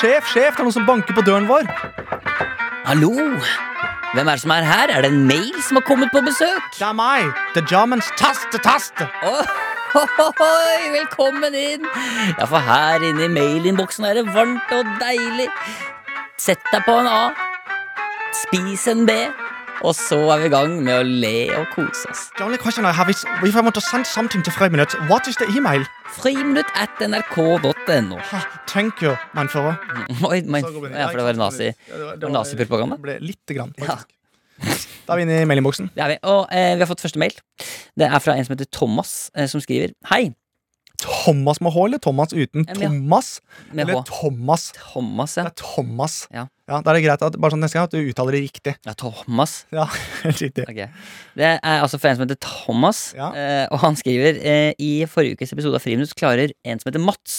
Speaker 2: sjef, sjef, det er noen som banker på døren vår!
Speaker 3: Hallo? Hvem er det som er her? Er det en mail som har kommet på besøk?
Speaker 2: Det er meg! The Germans Taste Taste!
Speaker 3: Oh, velkommen inn! Ja, for her inne i mailinnboksen er det varmt og deilig. Sett deg på en A, spis en B, og så er vi i gang med å le og kose oss.
Speaker 2: The only question I have is if I want to send something to Friminutt, what is the email?
Speaker 3: Friminutt at nrk.no.
Speaker 2: Ah, Thank you, mannfører.
Speaker 3: Oi, men, ja, for det var nazi.
Speaker 2: Ja, det var- det
Speaker 3: var
Speaker 2: var-
Speaker 3: nazipropaganda?
Speaker 2: det ble Lite grann,
Speaker 3: Ja.
Speaker 2: faktisk. Da er vi inne i meldingboksen.
Speaker 3: Det er vi. Og eh, vi har fått første mail. Det er fra en som heter Thomas, eh, som skriver Hei,
Speaker 2: Thomas med H eller Thomas uten?
Speaker 3: Ja, med H.
Speaker 2: Thomas
Speaker 3: med
Speaker 2: eller
Speaker 3: H.
Speaker 2: Thomas?
Speaker 3: Thomas,
Speaker 2: Det
Speaker 3: ja.
Speaker 2: er Thomas.
Speaker 3: Ja.
Speaker 2: Da er det greit at, bare sånn neste gang, at du uttaler det riktig.
Speaker 3: ja. Thomas.
Speaker 2: Ja, helt riktig.
Speaker 3: Ok. Det er altså fra en som heter Thomas,
Speaker 2: Ja.
Speaker 3: eh, og han skriver eh, I forrige ukes episode av Friminutt klarer en som heter Mats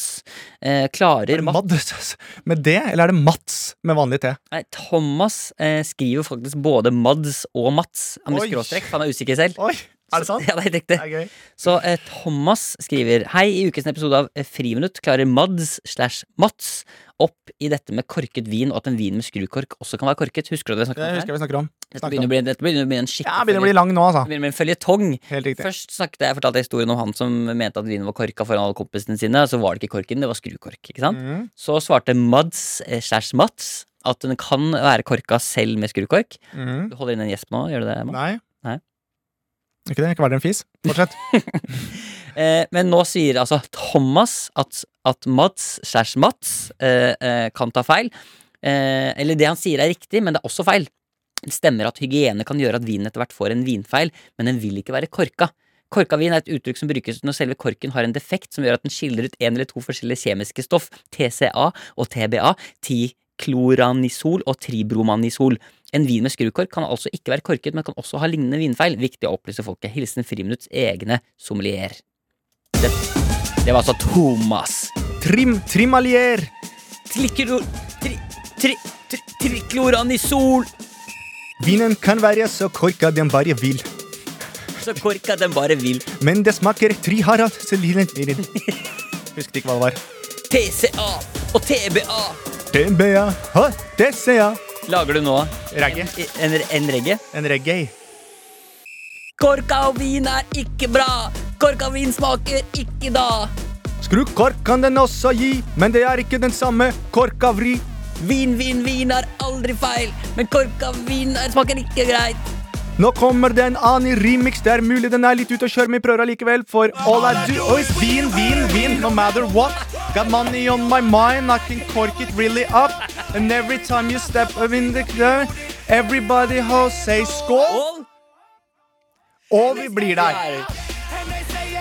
Speaker 3: eh, Klarer
Speaker 2: Er det
Speaker 3: Mats
Speaker 2: Mads med det, eller er det Mats med vanlig T?
Speaker 3: Nei, Thomas eh, skriver faktisk både Mads og Mats. Han med
Speaker 2: Oi.
Speaker 3: skråstrek, for han er usikker selv.
Speaker 2: Oi, er det sant?
Speaker 3: Ja, det er helt riktig.
Speaker 2: Det er gøy.
Speaker 3: Så eh, Thomas skriver Hei, i ukens episode av eh, Friminutt klarer Mads slash Mats opp i dette med korket vin, og at en vin med skrukork også kan være korket. Husker du det? vi snakket
Speaker 2: Det
Speaker 3: om
Speaker 2: husker
Speaker 3: her?
Speaker 2: jeg vi snakker om.
Speaker 3: Dette begynner å bli, dette begynner å bli en skikkelig
Speaker 2: Ja, begynner å bli lang nå, altså.
Speaker 3: det begynner å bli en føljetong.
Speaker 2: Helt riktig.
Speaker 3: Først snakket jeg, fortalte jeg historien om han som mente at vinen var korka foran alle kompisene sine. Så var det ikke korken, det var skrukork. ikke sant?
Speaker 2: Mm.
Speaker 3: Så svarte Mads eh, slash Mats at den kan være korka selv med skrukork.
Speaker 2: Mm.
Speaker 3: Du holder inn en gjesp nå, gjør du det? Emma?
Speaker 2: Nei.
Speaker 3: Nei.
Speaker 2: Ikke det, ikke vær en fis. Fortsett.
Speaker 3: Eh, men nå sier altså Thomas at, at Mats slash Mats eh, eh, kan ta feil. Eh, eller det han sier er riktig, men det er også feil. Det stemmer at hygiene kan gjøre at vinen etter hvert får en vinfeil, men den vil ikke være korka. Korka vin er et uttrykk som brukes når selve korken har en defekt som gjør at den skiller ut en eller to forskjellige kjemiske stoff, TCA og TBA, tikloranisol og tribromanisol. En vin med skrukork kan altså ikke være korket, men kan også ha lignende vinfeil. Viktig å opplyse folket. Hilsen Friminutts egne sommelier. Det, det var altså Thomas.
Speaker 2: Trim, trimalier.
Speaker 3: Triklor... Tri, tri, tri, trikloranisol!
Speaker 2: Vinen kan være så korka den bare vil.
Speaker 3: Så korka den bare vil.
Speaker 2: Men det smaker triharad Husket ikke hva det var.
Speaker 3: TCA og TBA.
Speaker 2: TBA, HDCA.
Speaker 3: Lager du nå
Speaker 2: Reggae.
Speaker 3: en, en reggae?
Speaker 2: En reggae.
Speaker 3: Korka og vin er ikke bra. Korka og vin smaker ikke da.
Speaker 2: Skrukork kan den også gi, men det er ikke den samme korka vri.
Speaker 3: Vin, vin, vin er aldri feil. Men korka og vin er, smaker ikke greit.
Speaker 2: Nå kommer det en annen remix. Det er mulig den er litt ute å kjøre, men vi prøver allikevel. For all I do is vin, vin, vin, no matter what. Got money on my mind, I can cork it really up. And every time you step up in the club, everybody ho say skål.
Speaker 3: Og
Speaker 2: Og vi blir der.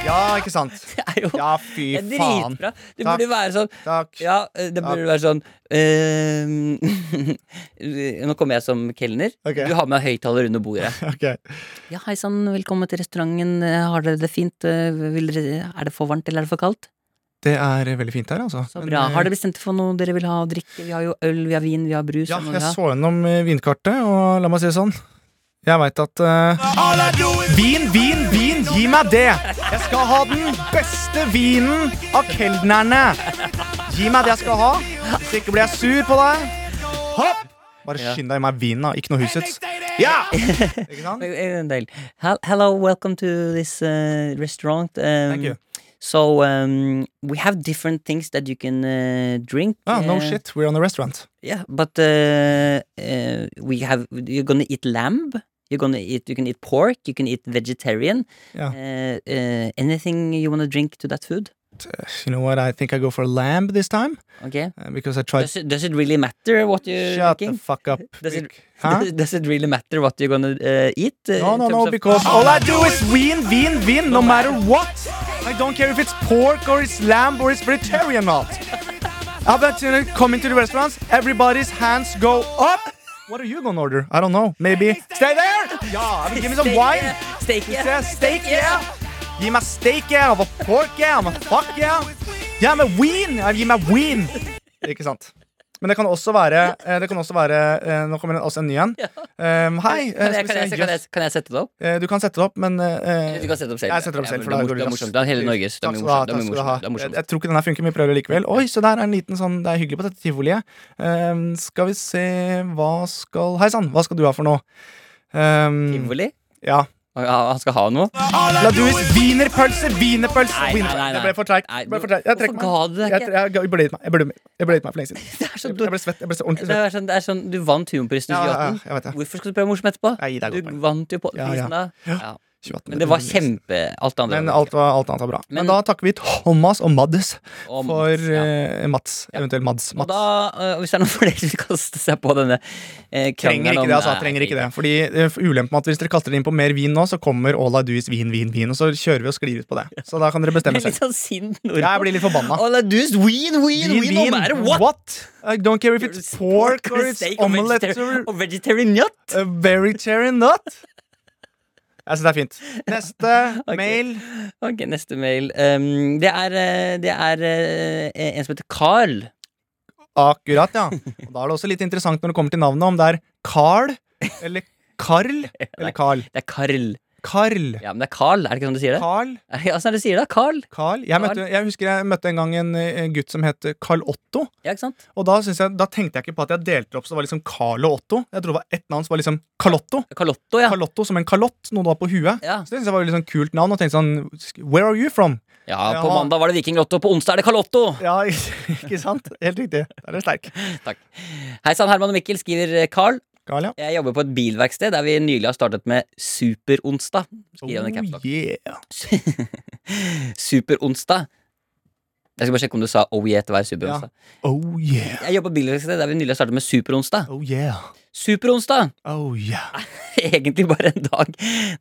Speaker 2: Ja, ikke sant?
Speaker 3: Det er jo
Speaker 2: Ja, fy
Speaker 3: det er
Speaker 2: faen.
Speaker 3: dritbra. Det
Speaker 2: Takk.
Speaker 3: burde jo være sånn
Speaker 2: Takk.
Speaker 3: Ja, eh, det burde være sånn eh, Nå kommer jeg som kelner.
Speaker 2: Ok.
Speaker 3: Du har med høyttaler under bordet.
Speaker 2: Ok.
Speaker 3: Ja, hei sann, velkommen til restauranten. Eh, Har dere det fint? Eh, Vil dere, er det for varmt, eller er det for kaldt?
Speaker 2: Det er veldig fint her, altså.
Speaker 3: Så
Speaker 2: Men,
Speaker 3: bra.
Speaker 2: eh,
Speaker 3: Har dere bestemt for noe dere vil ha å drikke? Vi har jo øl, vi har vin, vi har brus.
Speaker 2: Ja,
Speaker 3: og noe
Speaker 2: jeg
Speaker 3: vi har.
Speaker 2: så gjennom eh, vinkartet, og la meg si det sånn. Jeg veit at eh, Vin, vin, vin, gi meg det! Jeg skal ha den beste vinen av kelnerne. Gi meg det jeg skal ha, hvis ikke blir jeg sur på deg. Hopp! Bare
Speaker 3: Ja.
Speaker 2: skynd deg i meg vinen, da. Ikke noe husets. Ja! Ikke sant?
Speaker 3: Eh, eh, en del. Hel- Hello, welcome to this uh, restaurant. Um,
Speaker 2: Thank you.
Speaker 3: So um, we have different things that you can uh, drink.
Speaker 2: Ah, no
Speaker 3: eh,
Speaker 2: shit, we're on a restaurant.
Speaker 3: Yeah, but uh, uh, we have you're gonna eat lamb. You're gonna eat. You can eat pork. You can eat vegetarian.
Speaker 2: Yeah.
Speaker 3: Uh, uh, anything you wanna drink to that food?
Speaker 2: Eh, You know what, I think I go for lamb this time.
Speaker 3: Okay.
Speaker 2: eh, Because I tried
Speaker 3: Does it, does it really matter what you're
Speaker 2: Shut the
Speaker 3: drinking?
Speaker 2: fuck up.
Speaker 3: Does it-
Speaker 2: Hæ?
Speaker 3: does it really matter what you're gonna uh, eat? uh,
Speaker 2: No,
Speaker 3: in
Speaker 2: no,
Speaker 3: terms
Speaker 2: no,
Speaker 3: of-
Speaker 2: because all I do is win, win, win, no matter what. I don't care if it's pork or it's lamb or it's vegetarian or not. I've been to- coming to the restaurants, everybody's hands go up. What are you gonna order? I don't know. Maybe stay there. Yeah, I mean, give me some
Speaker 3: Steak,
Speaker 2: wine.
Speaker 3: yeah. Steak,
Speaker 2: Is
Speaker 3: yeah.
Speaker 2: there steak, yeah. Gi meg steak, yeah. Av pork, yeah. Av fuck, yeah. Ja, men wien. Ja, Gi meg wien. Ikke sant. Men det kan også være, eh, det kan også være eh, Nå kommer det også en ny en. Um, hei. eh, skal
Speaker 3: Kan jeg,
Speaker 2: vi
Speaker 3: kan,
Speaker 2: se,
Speaker 3: jeg, kan, jeg,
Speaker 2: jøss.
Speaker 3: kan jeg sette det opp?
Speaker 2: Eh, Du kan sette det opp, men eh,
Speaker 3: Du kan sette det opp selv.
Speaker 2: jeg setter det opp
Speaker 3: Ja,
Speaker 2: selv.
Speaker 3: men
Speaker 2: for da
Speaker 3: det
Speaker 2: går
Speaker 3: er
Speaker 2: det
Speaker 3: morsomt. Det er hele Norges. Det er
Speaker 2: Takk
Speaker 3: mye
Speaker 2: skal du ha,
Speaker 3: morsomt. Det er
Speaker 2: takk
Speaker 3: mye
Speaker 2: skal du ha.
Speaker 3: morsomt. Det er
Speaker 2: Jeg,
Speaker 3: morsomt.
Speaker 2: jeg tror ikke den her funker, men vi prøver likevel. Oi, så der er en liten sånn Det er hyggelig på dette tivoliet. Ehm, skal vi se Hva skal Hei sann, hva skal du ha for noe? Ehm,
Speaker 3: Tivoli?
Speaker 2: ja.
Speaker 3: Og ja, Han skal ha noe?
Speaker 2: La du is wienerpølse, wienerpølse
Speaker 3: Nei, nei,
Speaker 2: wiener-
Speaker 3: nei, nei.
Speaker 2: Det ble for treigt.
Speaker 3: Nei,
Speaker 2: Det ble for
Speaker 3: du-
Speaker 2: treigt. Jeg
Speaker 3: hvorfor
Speaker 2: trekker meg.
Speaker 3: ga du deg
Speaker 2: Jeg,
Speaker 3: ikke?
Speaker 2: jeg, jeg ble gitt meg. Jeg ble, jeg ble gitt meg for lenge siden.
Speaker 3: Det er så
Speaker 2: Jeg,
Speaker 3: dumt.
Speaker 2: jeg ble svett. Jeg ble så ordentlig
Speaker 3: Det
Speaker 2: svett.
Speaker 3: er sånn, det er sånn, du vant humorprisen i
Speaker 2: Ja, ja,
Speaker 3: 2018.
Speaker 2: ja, jeg vet det.
Speaker 3: Hvorfor skal du prøve morsom etterpå?
Speaker 2: Nei, det er godt
Speaker 3: du
Speaker 2: poeng.
Speaker 3: vant jo på
Speaker 2: Ja, ja.
Speaker 3: prisen da. Ja.
Speaker 2: 2018.
Speaker 3: Men det var kjempe Alt det andre
Speaker 2: Men
Speaker 3: var
Speaker 2: alt, var, alt annet var bra. Men,
Speaker 3: Men-
Speaker 2: da takker vi Thomas og Maddes
Speaker 3: ikke- og
Speaker 2: for
Speaker 3: Mats, ja.
Speaker 2: eh, Mats. Eventuelt Mads.
Speaker 3: Og
Speaker 2: Mats.
Speaker 3: da, eh, hvis det er noen flere som vil kaste seg på denne eh,
Speaker 2: Trenger
Speaker 3: krangelen
Speaker 2: ikke
Speaker 3: om-
Speaker 2: det, altså.
Speaker 3: Nei,
Speaker 2: Trenger ikke det. Fordi eh, ulempen med at hvis dere kaster det inn på mer vin nå, så kommer All I Do Is Vin, Vin, Vin, og så kjører vi og sklir ut på det. Så da kan dere
Speaker 3: Jeg
Speaker 2: bestemme
Speaker 3: er
Speaker 2: selv.
Speaker 3: litt sånn sint nordpå.
Speaker 2: Jeg blir litt forbanna.
Speaker 3: All I do is win, win, win, no matter what.
Speaker 2: I don't care if it's pork or it's
Speaker 3: steak or
Speaker 2: omelette
Speaker 3: vegetarian-
Speaker 2: or
Speaker 3: or vegetarian yacht.
Speaker 2: a vegetarian nut. Jeg syns det er fint. Neste
Speaker 3: Ok.
Speaker 2: mail.
Speaker 3: Ok, neste mail. Um, det er, eh, det er eh, en som heter Carl.
Speaker 2: Akkurat, ja. Og da er det også litt interessant når det kommer til navnet, om det er Carl eller Carl eller Carl.
Speaker 3: Det er Carl.
Speaker 2: Carl.
Speaker 3: Ja, men det er Carl, er det ikke sånn du sier det?
Speaker 2: Carl.
Speaker 3: Er det sånn du sier det? Carl?
Speaker 2: Carl. Jeg,
Speaker 3: Carl.
Speaker 2: møtte, jeg husker jeg møtte en gang en, eh, gutt som het Carl Otto.
Speaker 3: Ja, ikke sant?
Speaker 2: Og da, synes jeg, da tenkte jeg ikke på at jeg delte det opp så det var liksom Carl og Otto. Jeg trodde det var ett navn som var liksom Carlotto.
Speaker 3: Carlotto, ja.
Speaker 2: Carlotto som en kalott, noe du har på huet.
Speaker 3: Ja.
Speaker 2: Så det synes jeg var et litt sånn kult navn. Og tenkte sånn Where are you from?
Speaker 3: ja,
Speaker 2: Ja.
Speaker 3: på mandag var det Vikinglotto, på onsdag er det Carlotto!
Speaker 2: Ja, ikke sant? Helt riktig. Der er du sterk.
Speaker 3: Hei sann, Herman og Mikkel, skriver Carl.
Speaker 2: Carl, ja.
Speaker 3: Jeg jobber på et bilverksted der vi nylig har startet med Superonsdag. Skriver han i caps
Speaker 2: Oh,
Speaker 3: lock.
Speaker 2: yeah.
Speaker 3: Superonsdag. Jeg skal bare sjekke om du sa oh yeah til hver superonsdag.
Speaker 2: Oh yeah.
Speaker 3: Jeg jobber på bilverksted der vi nylig har startet med Superonsdag.
Speaker 2: Oh yeah.
Speaker 3: Superonsdag!
Speaker 2: Oh yeah.
Speaker 3: egentlig bare en dag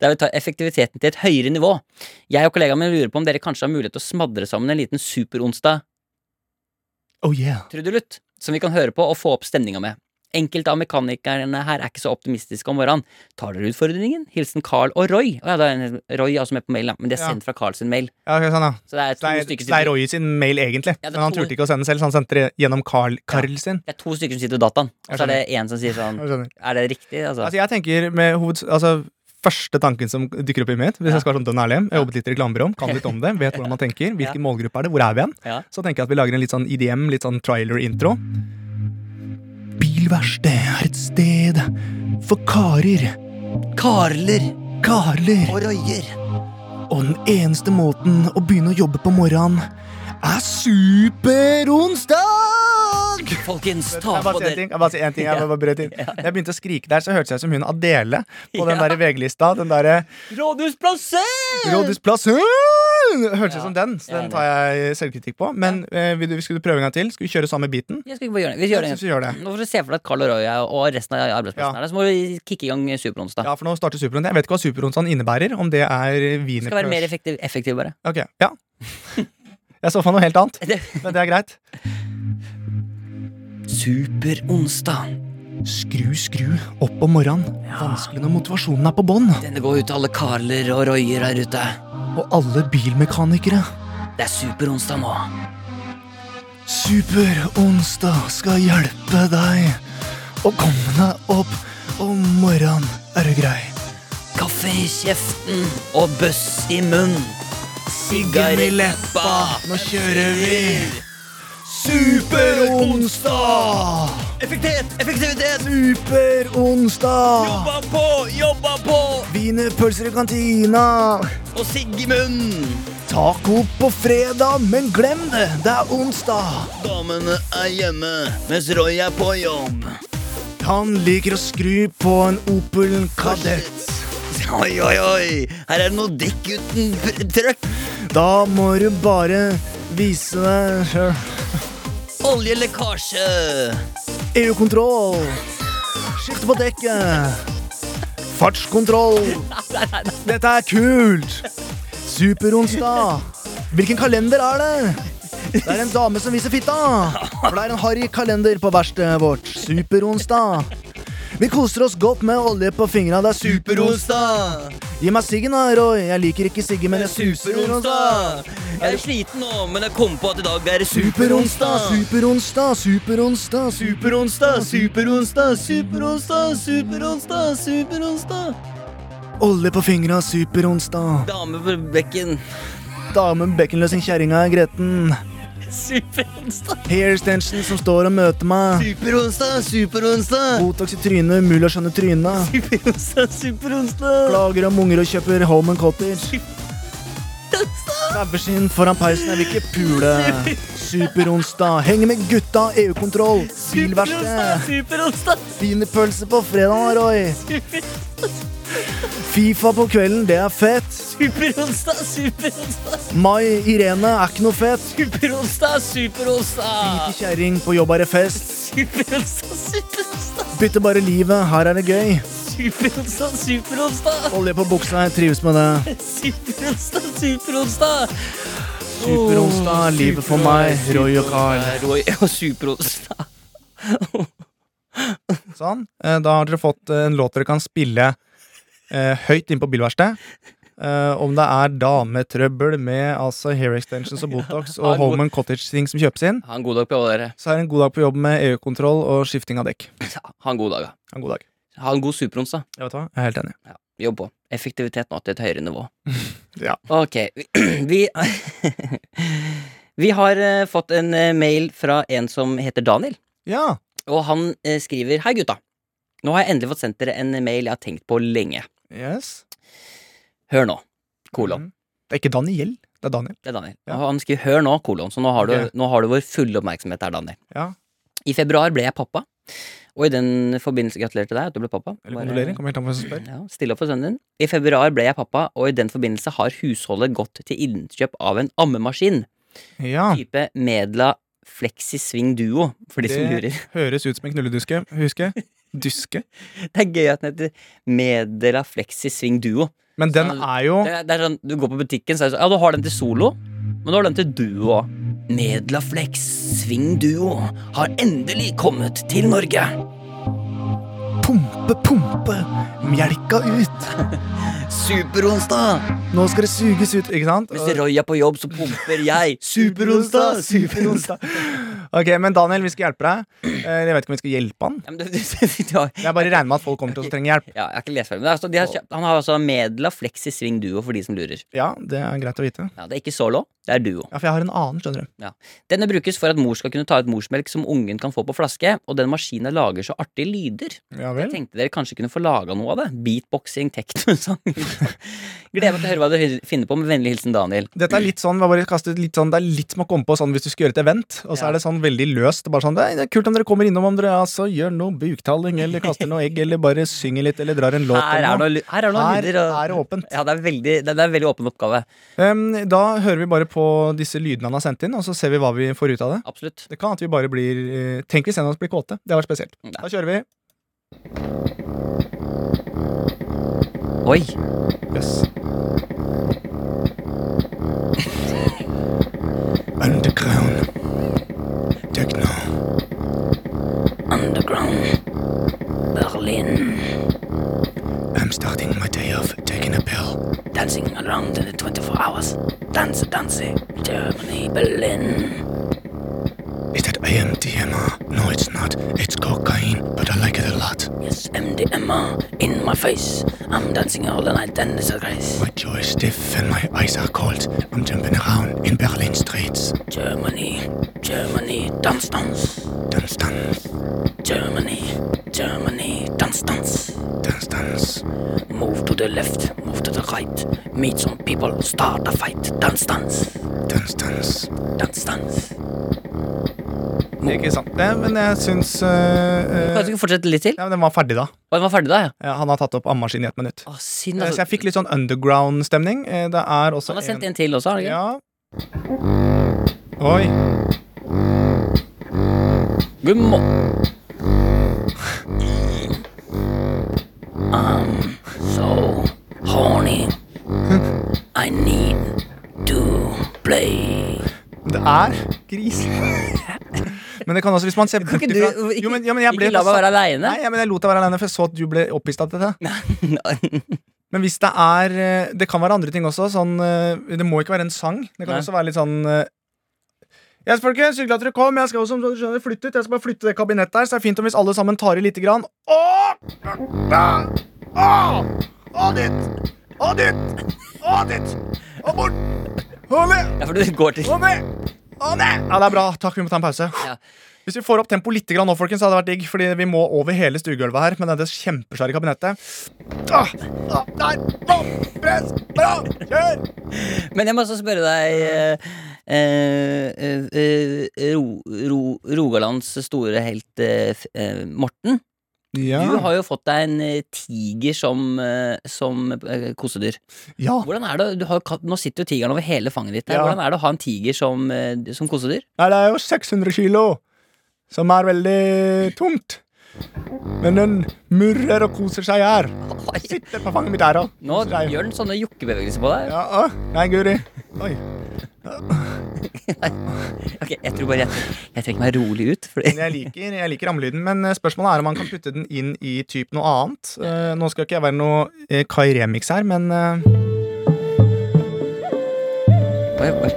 Speaker 3: der vi tar effektiviteten til et høyere nivå. Jeg og kollegaen min lurer på om dere kanskje har mulighet til å smadre sammen en liten superonsdag
Speaker 2: Oh yeah.
Speaker 3: trudelutt som vi kan høre på og få opp stemninga med. Enkelte av mekanikerne her er ikke så optimistiske om morgenen. Tar dere utfordringen? Hilsen Carl og Roy. Å ja, da er en- Roy altså, er også med på mailen, da, men det er
Speaker 2: Ja.
Speaker 3: sendt fra Carl sin mail.
Speaker 2: Ja, ok, sånn, ja.
Speaker 3: Så det er to
Speaker 2: Det er, det er
Speaker 3: stykker som sitter,
Speaker 2: Roy sin mail, egentlig.
Speaker 3: Ja,
Speaker 2: Men
Speaker 3: det
Speaker 2: han
Speaker 3: tror-
Speaker 2: turte ikke å sende selv, så han sendte det gjennom Carl, Carl sin.
Speaker 3: det er to stykker som sitter ved dataen, og
Speaker 2: Jeg
Speaker 3: så er det én som sier sånn
Speaker 2: Jeg skjønner.
Speaker 3: Er det riktig? Altså,
Speaker 2: Altså, jeg tenker med hoveds... Altså, første tanken som dukker opp i mitt, hvis
Speaker 3: Ja.
Speaker 2: jeg skal være sånn dønn ærlig, jeg har jobbet litt i reklamebyrå, kan litt om det, vet hvordan man tenker, hvilken målgruppe er det, hvor er vi hen?
Speaker 3: Ja.
Speaker 2: Så tenker jeg at vi lager en litt sånn IDM, litt sånn trailer-intro. Bilverksted er et sted for karer,
Speaker 3: Karler
Speaker 2: karler,
Speaker 3: og Royer.
Speaker 2: og den eneste måten å begynne å jobbe på morgenen er superonsdag!
Speaker 3: Folkens, ta
Speaker 2: Jeg bare
Speaker 3: på
Speaker 2: sier en
Speaker 3: dere
Speaker 2: ting, jeg bare sier en ting, jeg bare brøt inn. Da jeg begynte å skrike der, så hørtes jeg ut som hun Adele på den der VG-lista. Den derre
Speaker 3: Rådhusplasser!
Speaker 2: Rådhusplassen! Hørtes ut
Speaker 3: Ja,
Speaker 2: som den, så
Speaker 3: jeg er
Speaker 2: den tar jeg selvkritikk på. Men eh, vil du, skulle du prøve en gang til? Skal vi kjøre samme biten?
Speaker 3: Jeg skal ikke bare gjøre det. Vi gjør det.
Speaker 2: Jeg synes vi gjør det.
Speaker 3: Nå får du se for deg at Carl og Roy er- og resten av
Speaker 2: Ja.
Speaker 3: arbeidsplassen er der, så må du kicke i gang Superonsdag.
Speaker 2: Ja, for nå starter Superonsdag. Jeg vet ikke hva Superonsdagen innebærer. Om det er
Speaker 3: Skal være mer
Speaker 2: wienerpølse
Speaker 3: effektiv, effektiv bare.
Speaker 2: Ok, ja. Jeg så for meg noe helt annet, men det er greit.
Speaker 3: Superonsdag.
Speaker 2: Skru, skru opp om morgenen. Vanskelig når motivasjonen er på bånn.
Speaker 3: Denne går ut til alle Carler og Royer her ute.
Speaker 2: Og alle bilmekanikere.
Speaker 3: Det er Superonsdag nå.
Speaker 2: Superonsdag skal hjelpe deg å komme deg opp om morgenen. Er du grei?
Speaker 3: Kaffe i kjeften og bøss i munnen. Sigar i leppa.
Speaker 2: Nå kjører vi Superonsdag!
Speaker 3: Effektivitet! Effektivitet!
Speaker 2: Superonsdag!
Speaker 3: Jobba på! Jobba på!
Speaker 2: Wienerpølser i kantina.
Speaker 3: Og sigg i munnen.
Speaker 2: Taco på fredag, men glem det, det er onsdag.
Speaker 3: Damene er hjemme, mens Roy er på jobb.
Speaker 2: Han liker å skru på en Opel Kadett.
Speaker 3: Oi, oi, oi! Her er det noe dekk uten pr- trøkk.
Speaker 2: Da må du bare vise deg sjøl.
Speaker 3: Oljelekkasje.
Speaker 2: EU-kontroll. Skifte på dekket. Fartskontroll. Dette er kult. Superonsdag. Hvilken kalender er det? Det er en dame som viser fitta. For det er en harry kalender på verkstedet vårt. Superonsdag. Vi koser oss godt med olje på fingra. Det er superonsdag.
Speaker 3: Superonsdag.
Speaker 2: Gi meg siggen, da, Roy. Jeg liker ikke siggen, men det er superonsdag.
Speaker 3: Superonsdag. Jeg er sliten nå, men jeg kom på at i dag er det
Speaker 2: Superonsdag,
Speaker 3: superonsdag.
Speaker 2: superonsdag, superonsdag, superonsdag.
Speaker 3: Superonsdag, superonsdag, superonsdag, superonsdag, superonsdag.
Speaker 2: Olje på fingra, superonsdag.
Speaker 3: Dame på bekken.
Speaker 2: Damen bekkenløsing kjerringa er gretten.
Speaker 3: Superonsdag.
Speaker 2: Hair extension som står og møter meg.
Speaker 3: Superonsdag, superonsdag.
Speaker 2: Botox i trynet, umulig å skjønne trynet.
Speaker 3: Superonsdag, superonsdag.
Speaker 2: Klager om unger og kjøper home and cottage. Saueskinn foran peisen, jeg vil ikke pule. Superonsdag. Henger med gutta, EU-kontroll, bilverksted.
Speaker 3: Superonsdag, superonsdag.
Speaker 2: Wienerpølse på fredag, Roy.
Speaker 4: Fifa på kvelden, det er fett.
Speaker 3: Superonsdag, superonsdag,
Speaker 4: Mai Irene er ikke noe fett.
Speaker 3: superonsdag, superonsdag!
Speaker 4: Ikke kjerring, på jobb er det fest.
Speaker 3: Superonsdag, superonsdag,
Speaker 4: Bytte bare livet, her er det gøy.
Speaker 3: superonsdag, superonsdag!
Speaker 4: Olje på buksa, jeg trives med det.
Speaker 3: Superonsdag, superonsdag!
Speaker 4: Superonsdag, livet for meg, Roy og Carl.
Speaker 3: Roy og superonsdag.
Speaker 2: Sånn. Eh, Da har dere fått eh, en låt dere kan spille eh, høyt inn på bilverkstedet. Eh, om det er dametrøbbel med altså, hair extensions og Botox
Speaker 3: Ja,
Speaker 2: og
Speaker 3: god-
Speaker 2: home and cottage-ting som kjøpes inn,
Speaker 3: Ha en god dag på dere.
Speaker 2: så er det en god dag på jobb med EU-kontroll og skifting av dekk.
Speaker 3: Ha en god dag, da.
Speaker 2: Ha En god dag.
Speaker 3: Ha en god superonsdag.
Speaker 2: Jeg, vet hva? jeg er helt enig.
Speaker 3: Jobb på. Effektivitet nå til et høyere nivå.
Speaker 2: Ja.
Speaker 3: Ok. Vi Vi har eh, fått en eh, mail fra en som heter Daniel,
Speaker 2: Ja,
Speaker 3: og han eh, skriver Hei, gutta. Nå har jeg endelig fått sendt dere en mail jeg har tenkt på lenge.
Speaker 2: yes.
Speaker 3: Hør nå. Kolon.
Speaker 2: Mhm. Det er ikke Daniel, det er Daniel.
Speaker 3: Det er Daniel.
Speaker 2: Ja.
Speaker 3: Og han skriver 'hør nå', kolon. Så nå har, du,
Speaker 2: Ok.
Speaker 3: nå har du vår fulle oppmerksomhet her, Daniel.
Speaker 2: Ja.
Speaker 3: I februar ble jeg pappa, og i den forbindelse Gratulerer til deg at du ble pappa.
Speaker 2: Eller
Speaker 3: Bare-
Speaker 2: kondolerer. Kommer helt an på hvem som spør.
Speaker 3: Ja, stille opp for sønnen din. I februar ble jeg pappa, og i den forbindelse har husholdet gått til innkjøp av en ammemaskin.
Speaker 2: Ja.
Speaker 3: Type Medla Flexiswing Duo, for de som
Speaker 2: Det-
Speaker 3: lurer.
Speaker 2: Høres ut som en knulleduske. Huske? Duske.
Speaker 3: Det er gøy at den heter Medla Flexiswing Duo.
Speaker 2: Men den er jo
Speaker 3: Det er, det er sånn, Du går på butikken, så er det sånn Ja, du har den til solo, men du har den til duo òg. Medla Flex Swing Duo har endelig kommet til Norge.
Speaker 4: Pumpe, pumpe, mjelka ut.
Speaker 3: Superonsdag!
Speaker 2: Nå skal det suges ut, ikke sant?
Speaker 3: Hvis Roy er på jobb, så pumper jeg. Superonsdag! Superonsdag!
Speaker 2: Ok, men Daniel, vi skal hjelpe deg. Eh, Jeg vet ikke om vi skal hjelpe han.
Speaker 3: Ja, men du, du, du, du har
Speaker 2: Jeg bare regner med at folk kommer til å trenge hjelp.
Speaker 3: Ja, jeg har ikke lest ferdig, men det er, altså- de har, kjøpt- han har altså Medla Flexi Swing Duo for de som lurer.
Speaker 2: Ja, det er greit å vite.
Speaker 3: Ja, Det er ikke solo, det er duo.
Speaker 2: Ja, for jeg har en annen, skjønner du.
Speaker 3: Denne brukes for at mor skal kunne ta ut morsmelk som ungen kan få på flaske, og den maskinen lager så artige lyder.
Speaker 2: Ja
Speaker 3: Jeg
Speaker 2: vel?
Speaker 3: tenkte dere kanskje kunne få laga noe av det. Beatboxing, teknosang Gleder meg til å høre hva dere finner på, med vennlig hilsen Daniel.
Speaker 2: Dette er litt sånn, vi har bare kastet litt sånn, Det er litt som å komme på sånn hvis du skal gjøre et event, og så
Speaker 3: Ja.
Speaker 2: er det sånn veldig løst. Det er Bare sånn, det er- det er kult om dere kommer innom om dere altså, gjør noe buktaling, eller kaster noe egg, eller bare synger litt, eller drar en låt.
Speaker 3: Her er
Speaker 2: eller
Speaker 3: noe, ly- her er noen
Speaker 2: Her
Speaker 3: lyder. og-
Speaker 2: er det åpent.
Speaker 3: Ja, det er veldig, det er en veldig åpen oppgave.
Speaker 2: Em, da hører vi bare på disse lydene han har sendt inn, og så ser vi hva vi får ut av det.
Speaker 3: Absolutt.
Speaker 2: Det kan at vi bare blir eh, Tenk hvis en av oss blir kåte. Det var spesielt. Da kjører vi.
Speaker 3: Oi!
Speaker 2: Yes. Underground Techno
Speaker 3: Underground. Berlin.
Speaker 2: I'm starting my day off taking a pill
Speaker 3: Dancing around in the 24 hours. Danse, danse. Germany, Berlin.
Speaker 2: Is that AMDMR? No it's not It's cocaine But I like it a lot
Speaker 3: Yes, MDMA in my face. I'm dancing all the night and it's a grace.
Speaker 2: My jaw is stiff and my eyes are cold I'm jumping around in Berlin streets
Speaker 3: Germany, Germany, dance, dance.
Speaker 2: Dance dance
Speaker 3: Germany, Germany, dance, dance.
Speaker 2: Dance dance
Speaker 3: Move to the left, move to the right. Meet some people, start a fight. Dance, dance,
Speaker 2: Dance dance
Speaker 3: dance, dance.
Speaker 2: Ikke sant det, men jeg syns eh, eh,
Speaker 3: Kanskje du kan fortsette litt til?
Speaker 2: Ja, men den var ferdig da
Speaker 3: Å, den var ferdig da, ja.
Speaker 2: Eh, Han har tatt opp ammaskinen i et minutt
Speaker 3: Å, synd,
Speaker 2: Eh, Så
Speaker 3: altså.
Speaker 2: jeg fikk litt sånn underground-stemning. Eh, Det er også
Speaker 3: Han har Sånn, sendt en til også, har han ikke?
Speaker 2: Ja. Oi.
Speaker 3: God morgen. so horny. I need to play. Mm.
Speaker 2: Det er gris. Men det kan også, hvis man ser bort
Speaker 3: ikke
Speaker 2: ifra
Speaker 3: du-
Speaker 2: Jo, men, ja, men jeg ble
Speaker 3: ikke la meg være alene.
Speaker 2: Nei, ja, men jeg lot deg være aleine, for jeg så at du ble opphisset av dette. Men hvis det er eh, Det kan være andre ting også. Sånn, eh, det må ikke være en sang. Det kan
Speaker 3: Nei.
Speaker 2: også være litt sånn eh, Yes, folkens, hyggelig at dere kom. Jeg skal også, som dere skjønner, flytte ut. Jeg skal bare flytte det kabinettet her, så det er fint om hvis alle sammen tar i lite grann. Åh! Da! Åh! Åh, ditt! Åh, ditt! Åh, ditt! Åh, bort! Åh, ned!
Speaker 3: Ja, for du går til
Speaker 2: Åh, ned! Åh, ned! Ja, det er bra. Takk, vi må ta en pause.
Speaker 3: Ja.
Speaker 2: Hvis vi får opp tempo litt grann nå, folkens, hadde det vært digg. Fordi vi må over hele stuegulvet her med dette kjempesvære kabinettet. Ah, ah, der! Nå! Press! Bra! Kjør!
Speaker 3: Men jeg må også spørre deg eh, eh, eh, ro, ro, Rogalands store helt eh, f- eh, Morten.
Speaker 2: Ja.
Speaker 5: Du har jo fått deg en eh, tiger som, eh, som eh, kosedyr.
Speaker 2: ja.
Speaker 5: Hvordan er det, du har, jo katt- Nå sitter jo tigeren over hele fanget ditt. her.
Speaker 2: Ja.
Speaker 5: Hvordan er det å ha en tiger som, eh, som kosedyr?
Speaker 2: Nei, det er jo 600 kilo, som er veldig tungt. Men den murrer og koser seg her. Sitter på fanget mitt her og
Speaker 5: Nå
Speaker 2: koser seg.
Speaker 5: gjør den sånne jokkebevegelser på deg.
Speaker 2: Sånn. Ja, å, nei, Guri. Oi.
Speaker 5: Ok, jeg tror bare jeg, jeg trekker meg rolig ut. Fordi,
Speaker 2: Men Jeg liker, jeg liker ramlyden, men eh, spørsmålet er om man kan putte den inn i typ noe annet. Eh, nå skal ikke jeg være noe eh, Kai Remix her, men eh,
Speaker 5: Oi, oi.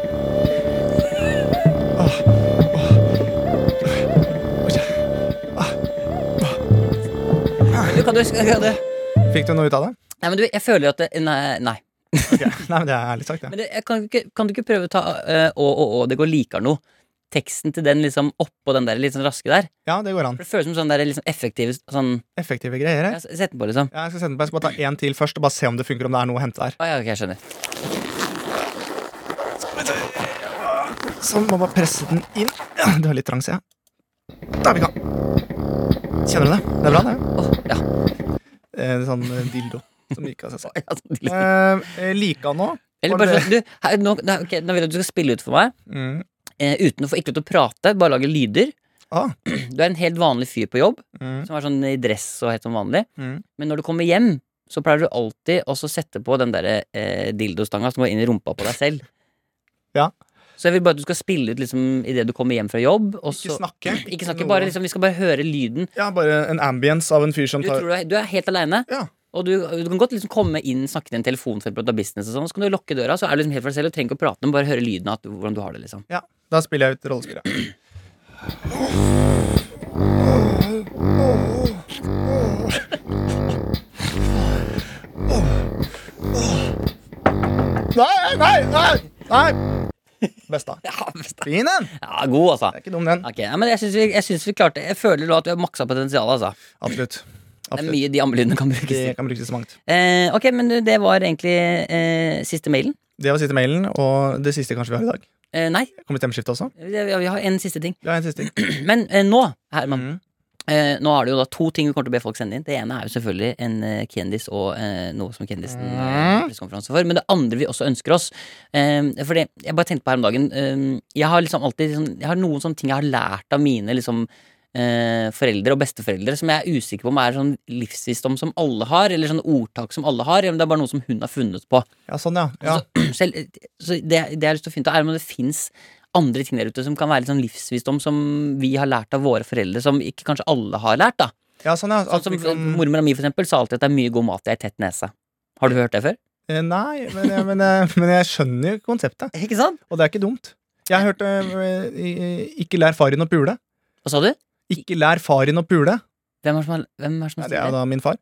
Speaker 5: Du, kan du, kan du.
Speaker 2: fikk du noe ut av det?
Speaker 5: Nei, men du, jeg føler at det, Nei. nei.
Speaker 2: Ok, Nei, men Det er ærlig sagt, det.
Speaker 5: Men det, jeg kan, ikke, kan du ikke prøve å ta eh, Å, å, å, det går likar noe? Teksten til den liksom oppå den der litt sånn raske der.
Speaker 2: Ja, det går an.
Speaker 5: For Det føles som sånn der liksom effektiv sånn
Speaker 2: Effektive greier
Speaker 5: ja,
Speaker 2: her.
Speaker 5: Sett den på, liksom.
Speaker 2: Ja, jeg skal sende på, jeg skal bare ta én til først, og bare se om det funker, om det er noe å hente der.
Speaker 5: Å ja, ok, jeg skjønner.
Speaker 2: Sånn, må bare presse den inn. Du har litt trang, ser jeg. Da er vi i gang. Kjenner du det? Det er bra, det.
Speaker 5: Åh, ja.
Speaker 2: Eh, sånn eh, dildo som gikk av seg selv.
Speaker 5: Å, ja, sånn litt-
Speaker 2: Eh, eh, Lika nå.
Speaker 5: Eller
Speaker 2: var
Speaker 5: bare
Speaker 2: det-
Speaker 5: sånn, du, her, nå, nei, ok, nå vil jeg at du skal spille ut for meg,
Speaker 2: Mm.
Speaker 5: eh, uten å få ikke lov til å prate, bare lage lyder.
Speaker 2: Ah.
Speaker 5: Du er en helt vanlig fyr på jobb,
Speaker 2: Mm.
Speaker 5: som er sånn i dress og helt som vanlig.
Speaker 2: Mm.
Speaker 5: Men når du kommer hjem, så pleier du alltid også å sette på den derre eh, dildostanga som går inn i rumpa på deg selv.
Speaker 2: Ja.
Speaker 5: Så jeg vil bare at du skal spille ut liksom idet du kommer hjem fra jobb. Og
Speaker 2: Ikke
Speaker 5: så,
Speaker 2: snakke.
Speaker 5: Ikke snakke,
Speaker 2: noe.
Speaker 5: bare liksom, Vi skal bare høre lyden.
Speaker 2: Ja, bare en ambience av en fyr som
Speaker 5: Du,
Speaker 2: tar
Speaker 5: tror du, er, du er helt aleine.
Speaker 2: Ja.
Speaker 5: Og du, du kan godt liksom komme inn, snakke til en telefon for å prate business, og sånn, så kan du lukke døra, så er du liksom helt for deg selv og trenger ikke å prate, men bare høre lyden av at, hvordan du har det. liksom
Speaker 2: Ja, da spiller jeg ut rollespillet. Nei, nei, nei! nei. Besta.
Speaker 5: Ja, best.
Speaker 2: Fin den! Det
Speaker 5: ja god, altså.
Speaker 2: er ikke dum, den.
Speaker 5: Ok, ja, men jeg syns vi, jeg synes vi klarte Jeg føler nå at vi har maksa potensialet, altså.
Speaker 2: Absolutt.
Speaker 5: Det er
Speaker 2: Absolutt.
Speaker 5: mye de ammelydene kan brukes
Speaker 2: Det
Speaker 5: til.
Speaker 2: kan brukes til så mangt.
Speaker 5: Eh, ok, men du, det var egentlig eh, siste mailen.
Speaker 2: Det var siste mailen, og det siste kanskje vi har i dag.
Speaker 5: Eh, nei,
Speaker 2: Kommer stemmeskifte også?
Speaker 5: det- vi har en siste ting.
Speaker 2: Vi har en siste ting.
Speaker 5: Men eh, nå, Herman,
Speaker 2: Mm.
Speaker 5: eh, nå har du jo da to ting vi kommer til å be folk sende inn. Det ene er jo selvfølgelig en eh, kjendis og eh, noe som kjendisen eh, pressekonferanse for. Men det andre vi også ønsker oss eh, Fordi jeg bare tenkte på her om dagen eh, Jeg har liksom alltid liksom, Jeg har noen sånne ting jeg har lært av mine liksom eh, foreldre og besteforeldre som jeg er usikker på om er sånn livsvisdom som alle har, eller sånne ordtak som alle har, eller om det er bare noe som hun har funnet på.
Speaker 2: Ja, sånn, ja. ja.
Speaker 5: Selv, så det, det jeg har lyst til å finne ut av, er om det fins andre ting der ute som kan være litt sånn livsvisdom som vi har lært av våre foreldre, som ikke kanskje alle har lært. da
Speaker 2: ja sånn, ja.
Speaker 5: Sånn
Speaker 2: At
Speaker 5: som
Speaker 2: vi kan-
Speaker 5: Mormor mi for eksempel, sa alltid at det er mye god mat i ei tett nese. Har du hørt det før?
Speaker 2: Eh, Nei, men, jeg- men, jeg- men jeg skjønner jo konseptet.
Speaker 5: Ikke sant?
Speaker 2: Og det er ikke dumt. Jeg hørte eh, i- i- Ikke lær far din å pule.
Speaker 5: Hva sa du?
Speaker 2: Ikke lær far din å pule.
Speaker 5: Hvem er det som har, hvem er det
Speaker 2: Ja,
Speaker 5: som har
Speaker 2: det er jo
Speaker 5: sagt
Speaker 2: da
Speaker 5: det?
Speaker 2: min far.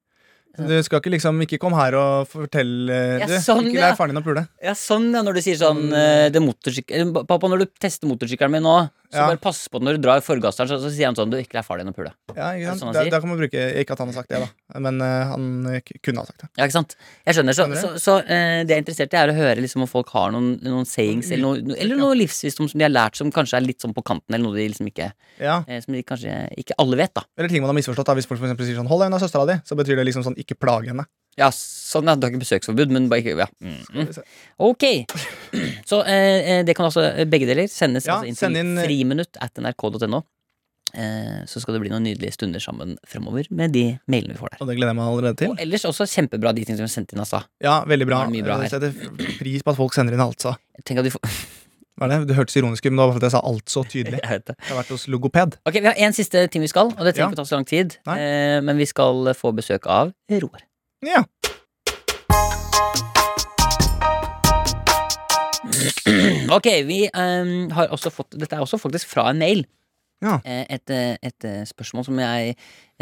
Speaker 2: Så du skal ikke liksom Ikke kom her og fortell eh,
Speaker 5: Ja,
Speaker 2: Du,
Speaker 5: sånn,
Speaker 2: ikke
Speaker 5: ja.
Speaker 2: lær faren din å pule.
Speaker 5: Ja, sånn ja, når du sier sånn
Speaker 2: Mm.
Speaker 5: eh, det motorsyk- eh, Pappa, når du tester motorsykkelen min nå, så
Speaker 2: Ja.
Speaker 5: bare pass på den når du drar i forgasseren, så, så sier han sånn Du, ikke lær far din å pule.
Speaker 2: Ja, ikke
Speaker 5: sånn han
Speaker 2: sant? Da,
Speaker 5: sier?
Speaker 2: da kan man bruke Ikke at han har sagt det, da. Men eh, han eh, k- kunne ha sagt det.
Speaker 5: Ja, ikke sant? Jeg skjønner. Så,
Speaker 2: Skjønner
Speaker 5: så, så eh, det jeg er interessert i, er å høre liksom, om folk har noen, noen sayings eller noe, eller noe livsvisdom som de har lært, som kanskje er litt sånn på kanten, eller noe de liksom ikke
Speaker 2: Ja.
Speaker 5: eh, Som de kanskje ikke alle vet, da.
Speaker 2: Eller ting man har misforstått. da Hvis folk for eksempel sier sånn 'hold deg unna søstera di', så betyr det liksom sånn 'ikke plage henne'.
Speaker 5: Ja, sånn, ja. Du har ikke besøksforbud, men bare ikke Ja. Mm.
Speaker 2: Skal vi se.
Speaker 5: Ok. Så eh, eh, det kan altså eh, begge deler sendes
Speaker 2: Ja,
Speaker 5: altså inn
Speaker 2: send
Speaker 5: til
Speaker 2: inn, eh,
Speaker 5: friminutt at nrk.no. Eh, så skal det bli noen nydelige stunder sammen fremover med de mailene vi får der.
Speaker 2: Og det gleder jeg meg allerede til.
Speaker 5: Og ellers også kjempebra de tingene som er sendt inn, altså.
Speaker 2: Ja, veldig bra.
Speaker 5: Det er mye bra her.
Speaker 2: Jeg setter f- pris på at folk sender inn altså.
Speaker 5: Tenk at vi får
Speaker 2: Hva er det? Det hørtes ironisk ut, men det var bare fordi jeg sa alt så tydelig.
Speaker 5: Jeg vet det.
Speaker 2: Jeg har vært hos logoped.
Speaker 5: Ok, Vi har én siste ting vi skal, og det trenger
Speaker 2: Ja.
Speaker 5: ikke å ta så lang tid.
Speaker 2: Nei.
Speaker 5: Eh, men vi skal få besøk av Roar.
Speaker 2: Ja.
Speaker 5: Ok, vi ehm, har også fått Dette er også faktisk fra en mail.
Speaker 2: Ja.
Speaker 5: Eh, Et, eh, et eh, spørsmål som jeg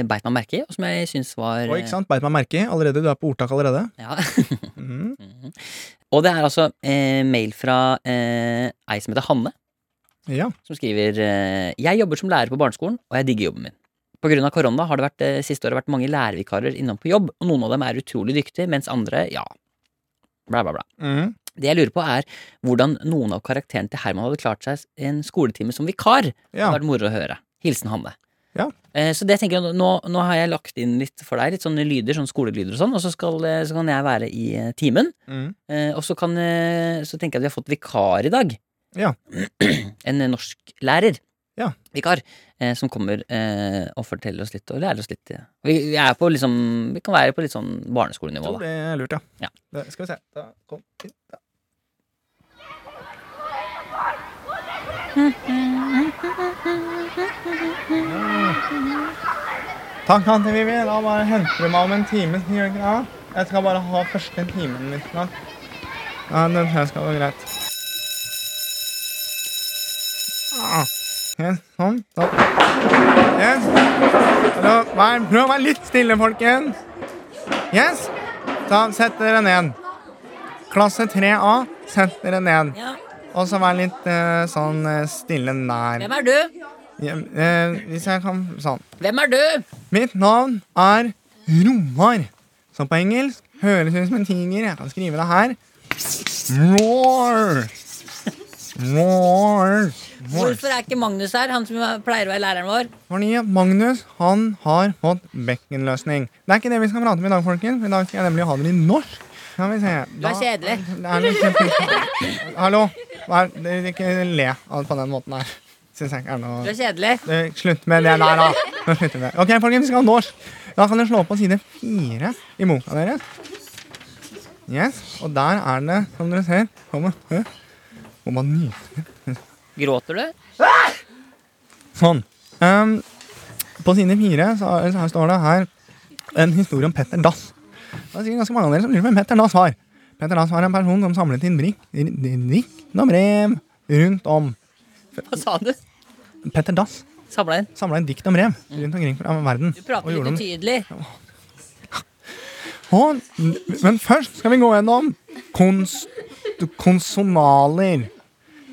Speaker 5: beit meg merke i, og som jeg syns var
Speaker 2: Og ikke sant, Beit meg merke i allerede. Du er på ordtak allerede.
Speaker 5: eh, Ja.
Speaker 2: Mhm.
Speaker 5: Mhm. Og det er altså eh, mail fra eh, ei som heter Hanne,
Speaker 2: Ja.
Speaker 5: som skriver eh, Jeg jobber som lærer på barneskolen, og jeg digger jobben min. På grunn av korona har det vært, eh, siste året vært mange lærervikarer innom på jobb, og noen av dem er utrolig dyktige, mens andre, ja, bla, bla, bla.
Speaker 2: Mhm.
Speaker 5: Det jeg lurer på, er hvordan noen av karakterene til Herman hadde klart seg en skoletime som vikar. Det
Speaker 2: ja.
Speaker 5: hadde vært moro å høre. Hilsen Hanne.
Speaker 2: Ja.
Speaker 5: Eh, Så det tenker jeg, nå, nå har jeg lagt inn litt for deg, litt sånne lyder, sånn skolelyder og sånn, og så, skal, eh, så kan jeg være i eh, timen.
Speaker 2: Mm.
Speaker 5: Eh, Og så, kan, eh, så tenker jeg at vi har fått vikar i dag.
Speaker 2: Ja.
Speaker 5: En eh, norsklærer.
Speaker 2: Ja.
Speaker 5: Vikar. eh, Som kommer eh, og forteller oss litt og lærer oss litt. eh. Vi, vi, er på liksom, vi kan være på litt sånn barneskolenivå,
Speaker 2: Tror
Speaker 5: da.
Speaker 2: det er lurt, ja.
Speaker 5: Ja.
Speaker 2: Det, skal vi se. Da, kom. hit, da. Takk, tante Vivi. Da bare henter du meg om en time. Gjør du ikke det? Jeg skal bare ha første timen min snart. Ja, det tror jeg skal gå greit. Ah, Yes, sånn. Da. Yes. Hallo, vær, prøv å være litt stille, folkens. Yes. Da sett dere ned. Klasse 3A, sett dere ned. Og så vær litt eh, sånn eh, stille nær.
Speaker 5: Hvem er du?
Speaker 2: Ja, eh, hvis jeg kan sånn.
Speaker 5: Hvem er du?
Speaker 2: Mitt navn er Roar. Som på engelsk høres ut som en tiger. Jeg kan skrive det her. Roar. Roar. Roar.
Speaker 5: Hvorfor er ikke Magnus her, han som pleier å være læreren vår?
Speaker 2: Fordi Magnus han har fått bekkenløsning. Det er ikke det vi skal prate om i dag, folkens. I dag skal jeg nemlig ha det i norsk. Skal vi se.
Speaker 5: Du er kjedelig.
Speaker 2: Det er litt kjempe- Hallo. Vær, dere ikke le av på den måten her. Synes jeg ikke er noe
Speaker 5: Du er kjedelig.
Speaker 2: Eh, Slutt med det der, da. Nå slutter vi med det. Ok, folkens, vi skal ha norsk. Da kan dere slå opp på side fire i boka deres. Yes, Og der er det, som dere ser Kom, og- eh, Må man nyte.
Speaker 5: Gråter du?
Speaker 2: Sånn. Ehm, på side fire så, er- så her står det her en historie om Petter Dass. Det er sikkert ganske mange av dere som lurer på hvem Petter Dass var. Petter Dass var en person som samlet inn brikk, rikt og brev rundt om.
Speaker 5: Hva sa du?
Speaker 2: Petter Dass
Speaker 5: Samla inn.
Speaker 2: samla inn dikt og brev rundt omkring fra verden.
Speaker 5: Du
Speaker 2: og
Speaker 5: prater
Speaker 2: gjorde
Speaker 5: litt
Speaker 2: om-
Speaker 5: utydelig.
Speaker 2: Og, men først skal vi gå gjennom kons, konsonaler.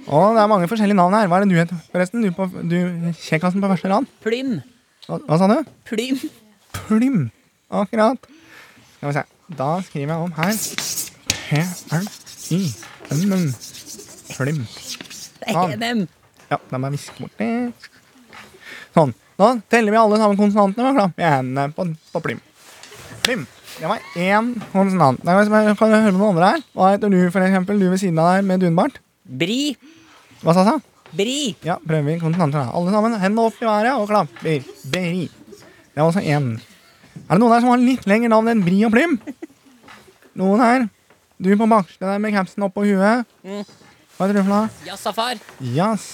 Speaker 2: Og det er mange forskjellige navn her. Hva er det du heter, forresten? Du, på, du Kjekkasen på første rad?
Speaker 5: Plym.
Speaker 2: Hva, hva sa du?
Speaker 5: Plym.
Speaker 2: Plym. Akkurat. Skal vi se. Da skriver jeg om her. P-l-y-m-m. Plym.
Speaker 5: Det er E
Speaker 2: Ah.
Speaker 5: ENM.
Speaker 2: Ja, la meg viske bort det. Sånn. Nå teller vi alle sammen konsonantene. Hva er det? Vi er ene på, på plim. Plim. Det var én konsonant. Da kan jeg- kan du høre med noen andre her? Hva heter du, for eksempel? Du ved siden av deg med dunbart?
Speaker 5: Bri.
Speaker 2: Hva sa jeg?
Speaker 5: Bri.
Speaker 2: Ja, prøver konsonantene. Alle sammen, hendene opp i været og klapper. Bri. Det var også én. Er det noen her som har litt lengre navn enn Bri og Plim? Noen her? Du på bakste der med capsen oppå huet.
Speaker 5: Mm.
Speaker 2: Hva heter du for noe?
Speaker 5: Jazzafar.
Speaker 2: Yes.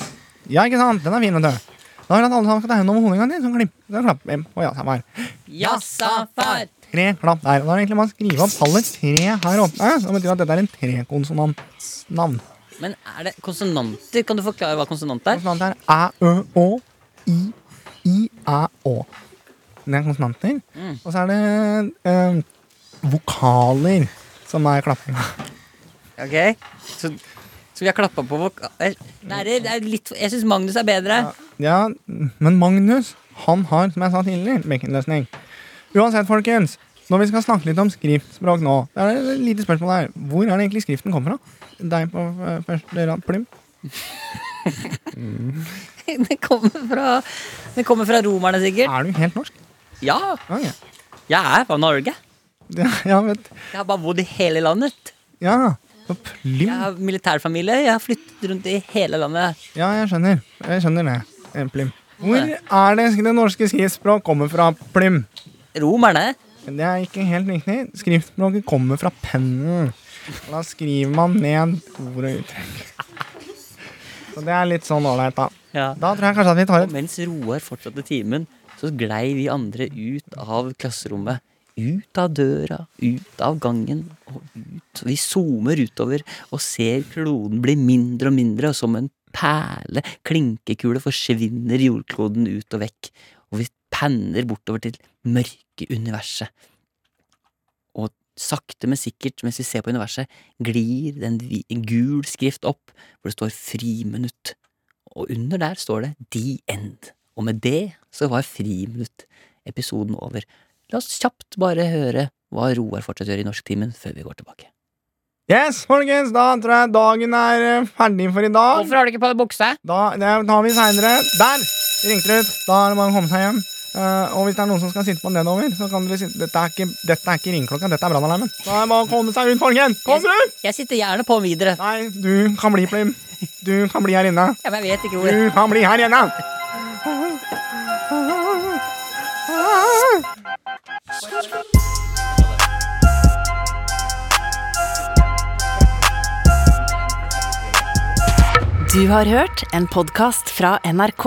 Speaker 2: Ja, ikke sant? Den er fin, vet du. Da vil jeg at alle sammen skal ta hendene over hodet en gang til. Sånn klipp. Så klapp. Em, Og ja, samme her.
Speaker 5: Jazzafar.
Speaker 2: Tre klapp der. Og da er det egentlig bare å skrive opp tallet tre her oppe. Det betyr at dette er en trekonsonantsnavn.
Speaker 5: Men er det konsonanter? Kan du forklare hva konsonant er?
Speaker 2: Konsonant er æ, ø, å, i, i, æ, å. Det er konsonanter.
Speaker 5: Mm.
Speaker 2: Og så er det eh, vokaler som er klappinga.
Speaker 5: Ok. Så, så vi har klappa på vok... eh. Jeg, Lærer, det er litt, jeg syns Magnus er bedre.
Speaker 2: Ja, men Magnus, han har, som jeg sa tidligere, bekkenløsning. Uansett, folkens, når vi skal snakke litt om skriftspråk nå, det er det et lite spørsmål her. Hvor er det egentlig skriften kommer fra? Deg på eh, første rad, Plym?
Speaker 5: Det kommer fra, det kommer fra romerne, sikkert.
Speaker 2: Er du helt norsk?
Speaker 5: Ja,
Speaker 2: Ja, ja.
Speaker 5: jeg er fra Norge.
Speaker 2: Ja, vet
Speaker 5: Jeg har bare bodd i hele landet.
Speaker 2: Ja, så Plym.
Speaker 5: Jeg har militærfamilie. Jeg har flyttet rundt i hele landet.
Speaker 2: Ja, jeg skjønner. Jeg skjønner det, eh, Plym. Hvor er det det norske skriftspråk kommer fra, Plym?
Speaker 5: Romerne.
Speaker 2: Det er ikke helt riktig. Skriftspråket kommer fra pennen. Og Da skriver man ned ord og uttrykk. Så det er litt sånn ålreit, da.
Speaker 5: Ja.
Speaker 2: Da tror jeg kanskje at vi tar
Speaker 5: Og
Speaker 2: et
Speaker 5: mens Roar fortsatte timen, så glei vi andre ut av klasserommet. Ut av døra, ut av gangen og ut. Vi zoomer utover og ser kloden bli mindre og mindre, og som en perle, klinkekule, forsvinner jordkloden ut og vekk. Og vi penner bortover til mørke universet. Og sakte, men sikkert, mens vi ser på universet, glir det en vi- en gul skrift opp hvor det står friminutt og under der står det The End. Og med det så var Friminutt-episoden over. La oss kjapt bare høre hva Roar fortsatt gjør i norsktimen før vi går tilbake.
Speaker 2: Yes, folkens! Da tror jeg dagen er eh, ferdig for i dag.
Speaker 5: har du ikke på deg bukse?
Speaker 2: Da det tar vi seinere. Der! ringte det ut. Da er det bare å komme seg hjem. Eh, og hvis det er noen som skal sitte på nedover, så kan dere sitte Dette er ikke, dette er ikke ringeklokka, dette er brannalarmen. Da er det bare å komme seg ut, folkens! Kom dere ut!
Speaker 3: Jeg sitter gjerne på videre.
Speaker 2: Nei, du kan bli, Plim. Du kan bli her inne.
Speaker 3: Ja, men jeg vet ikke hvor
Speaker 2: Du kan bli her inne.
Speaker 1: Du har hørt en podkast fra NRK.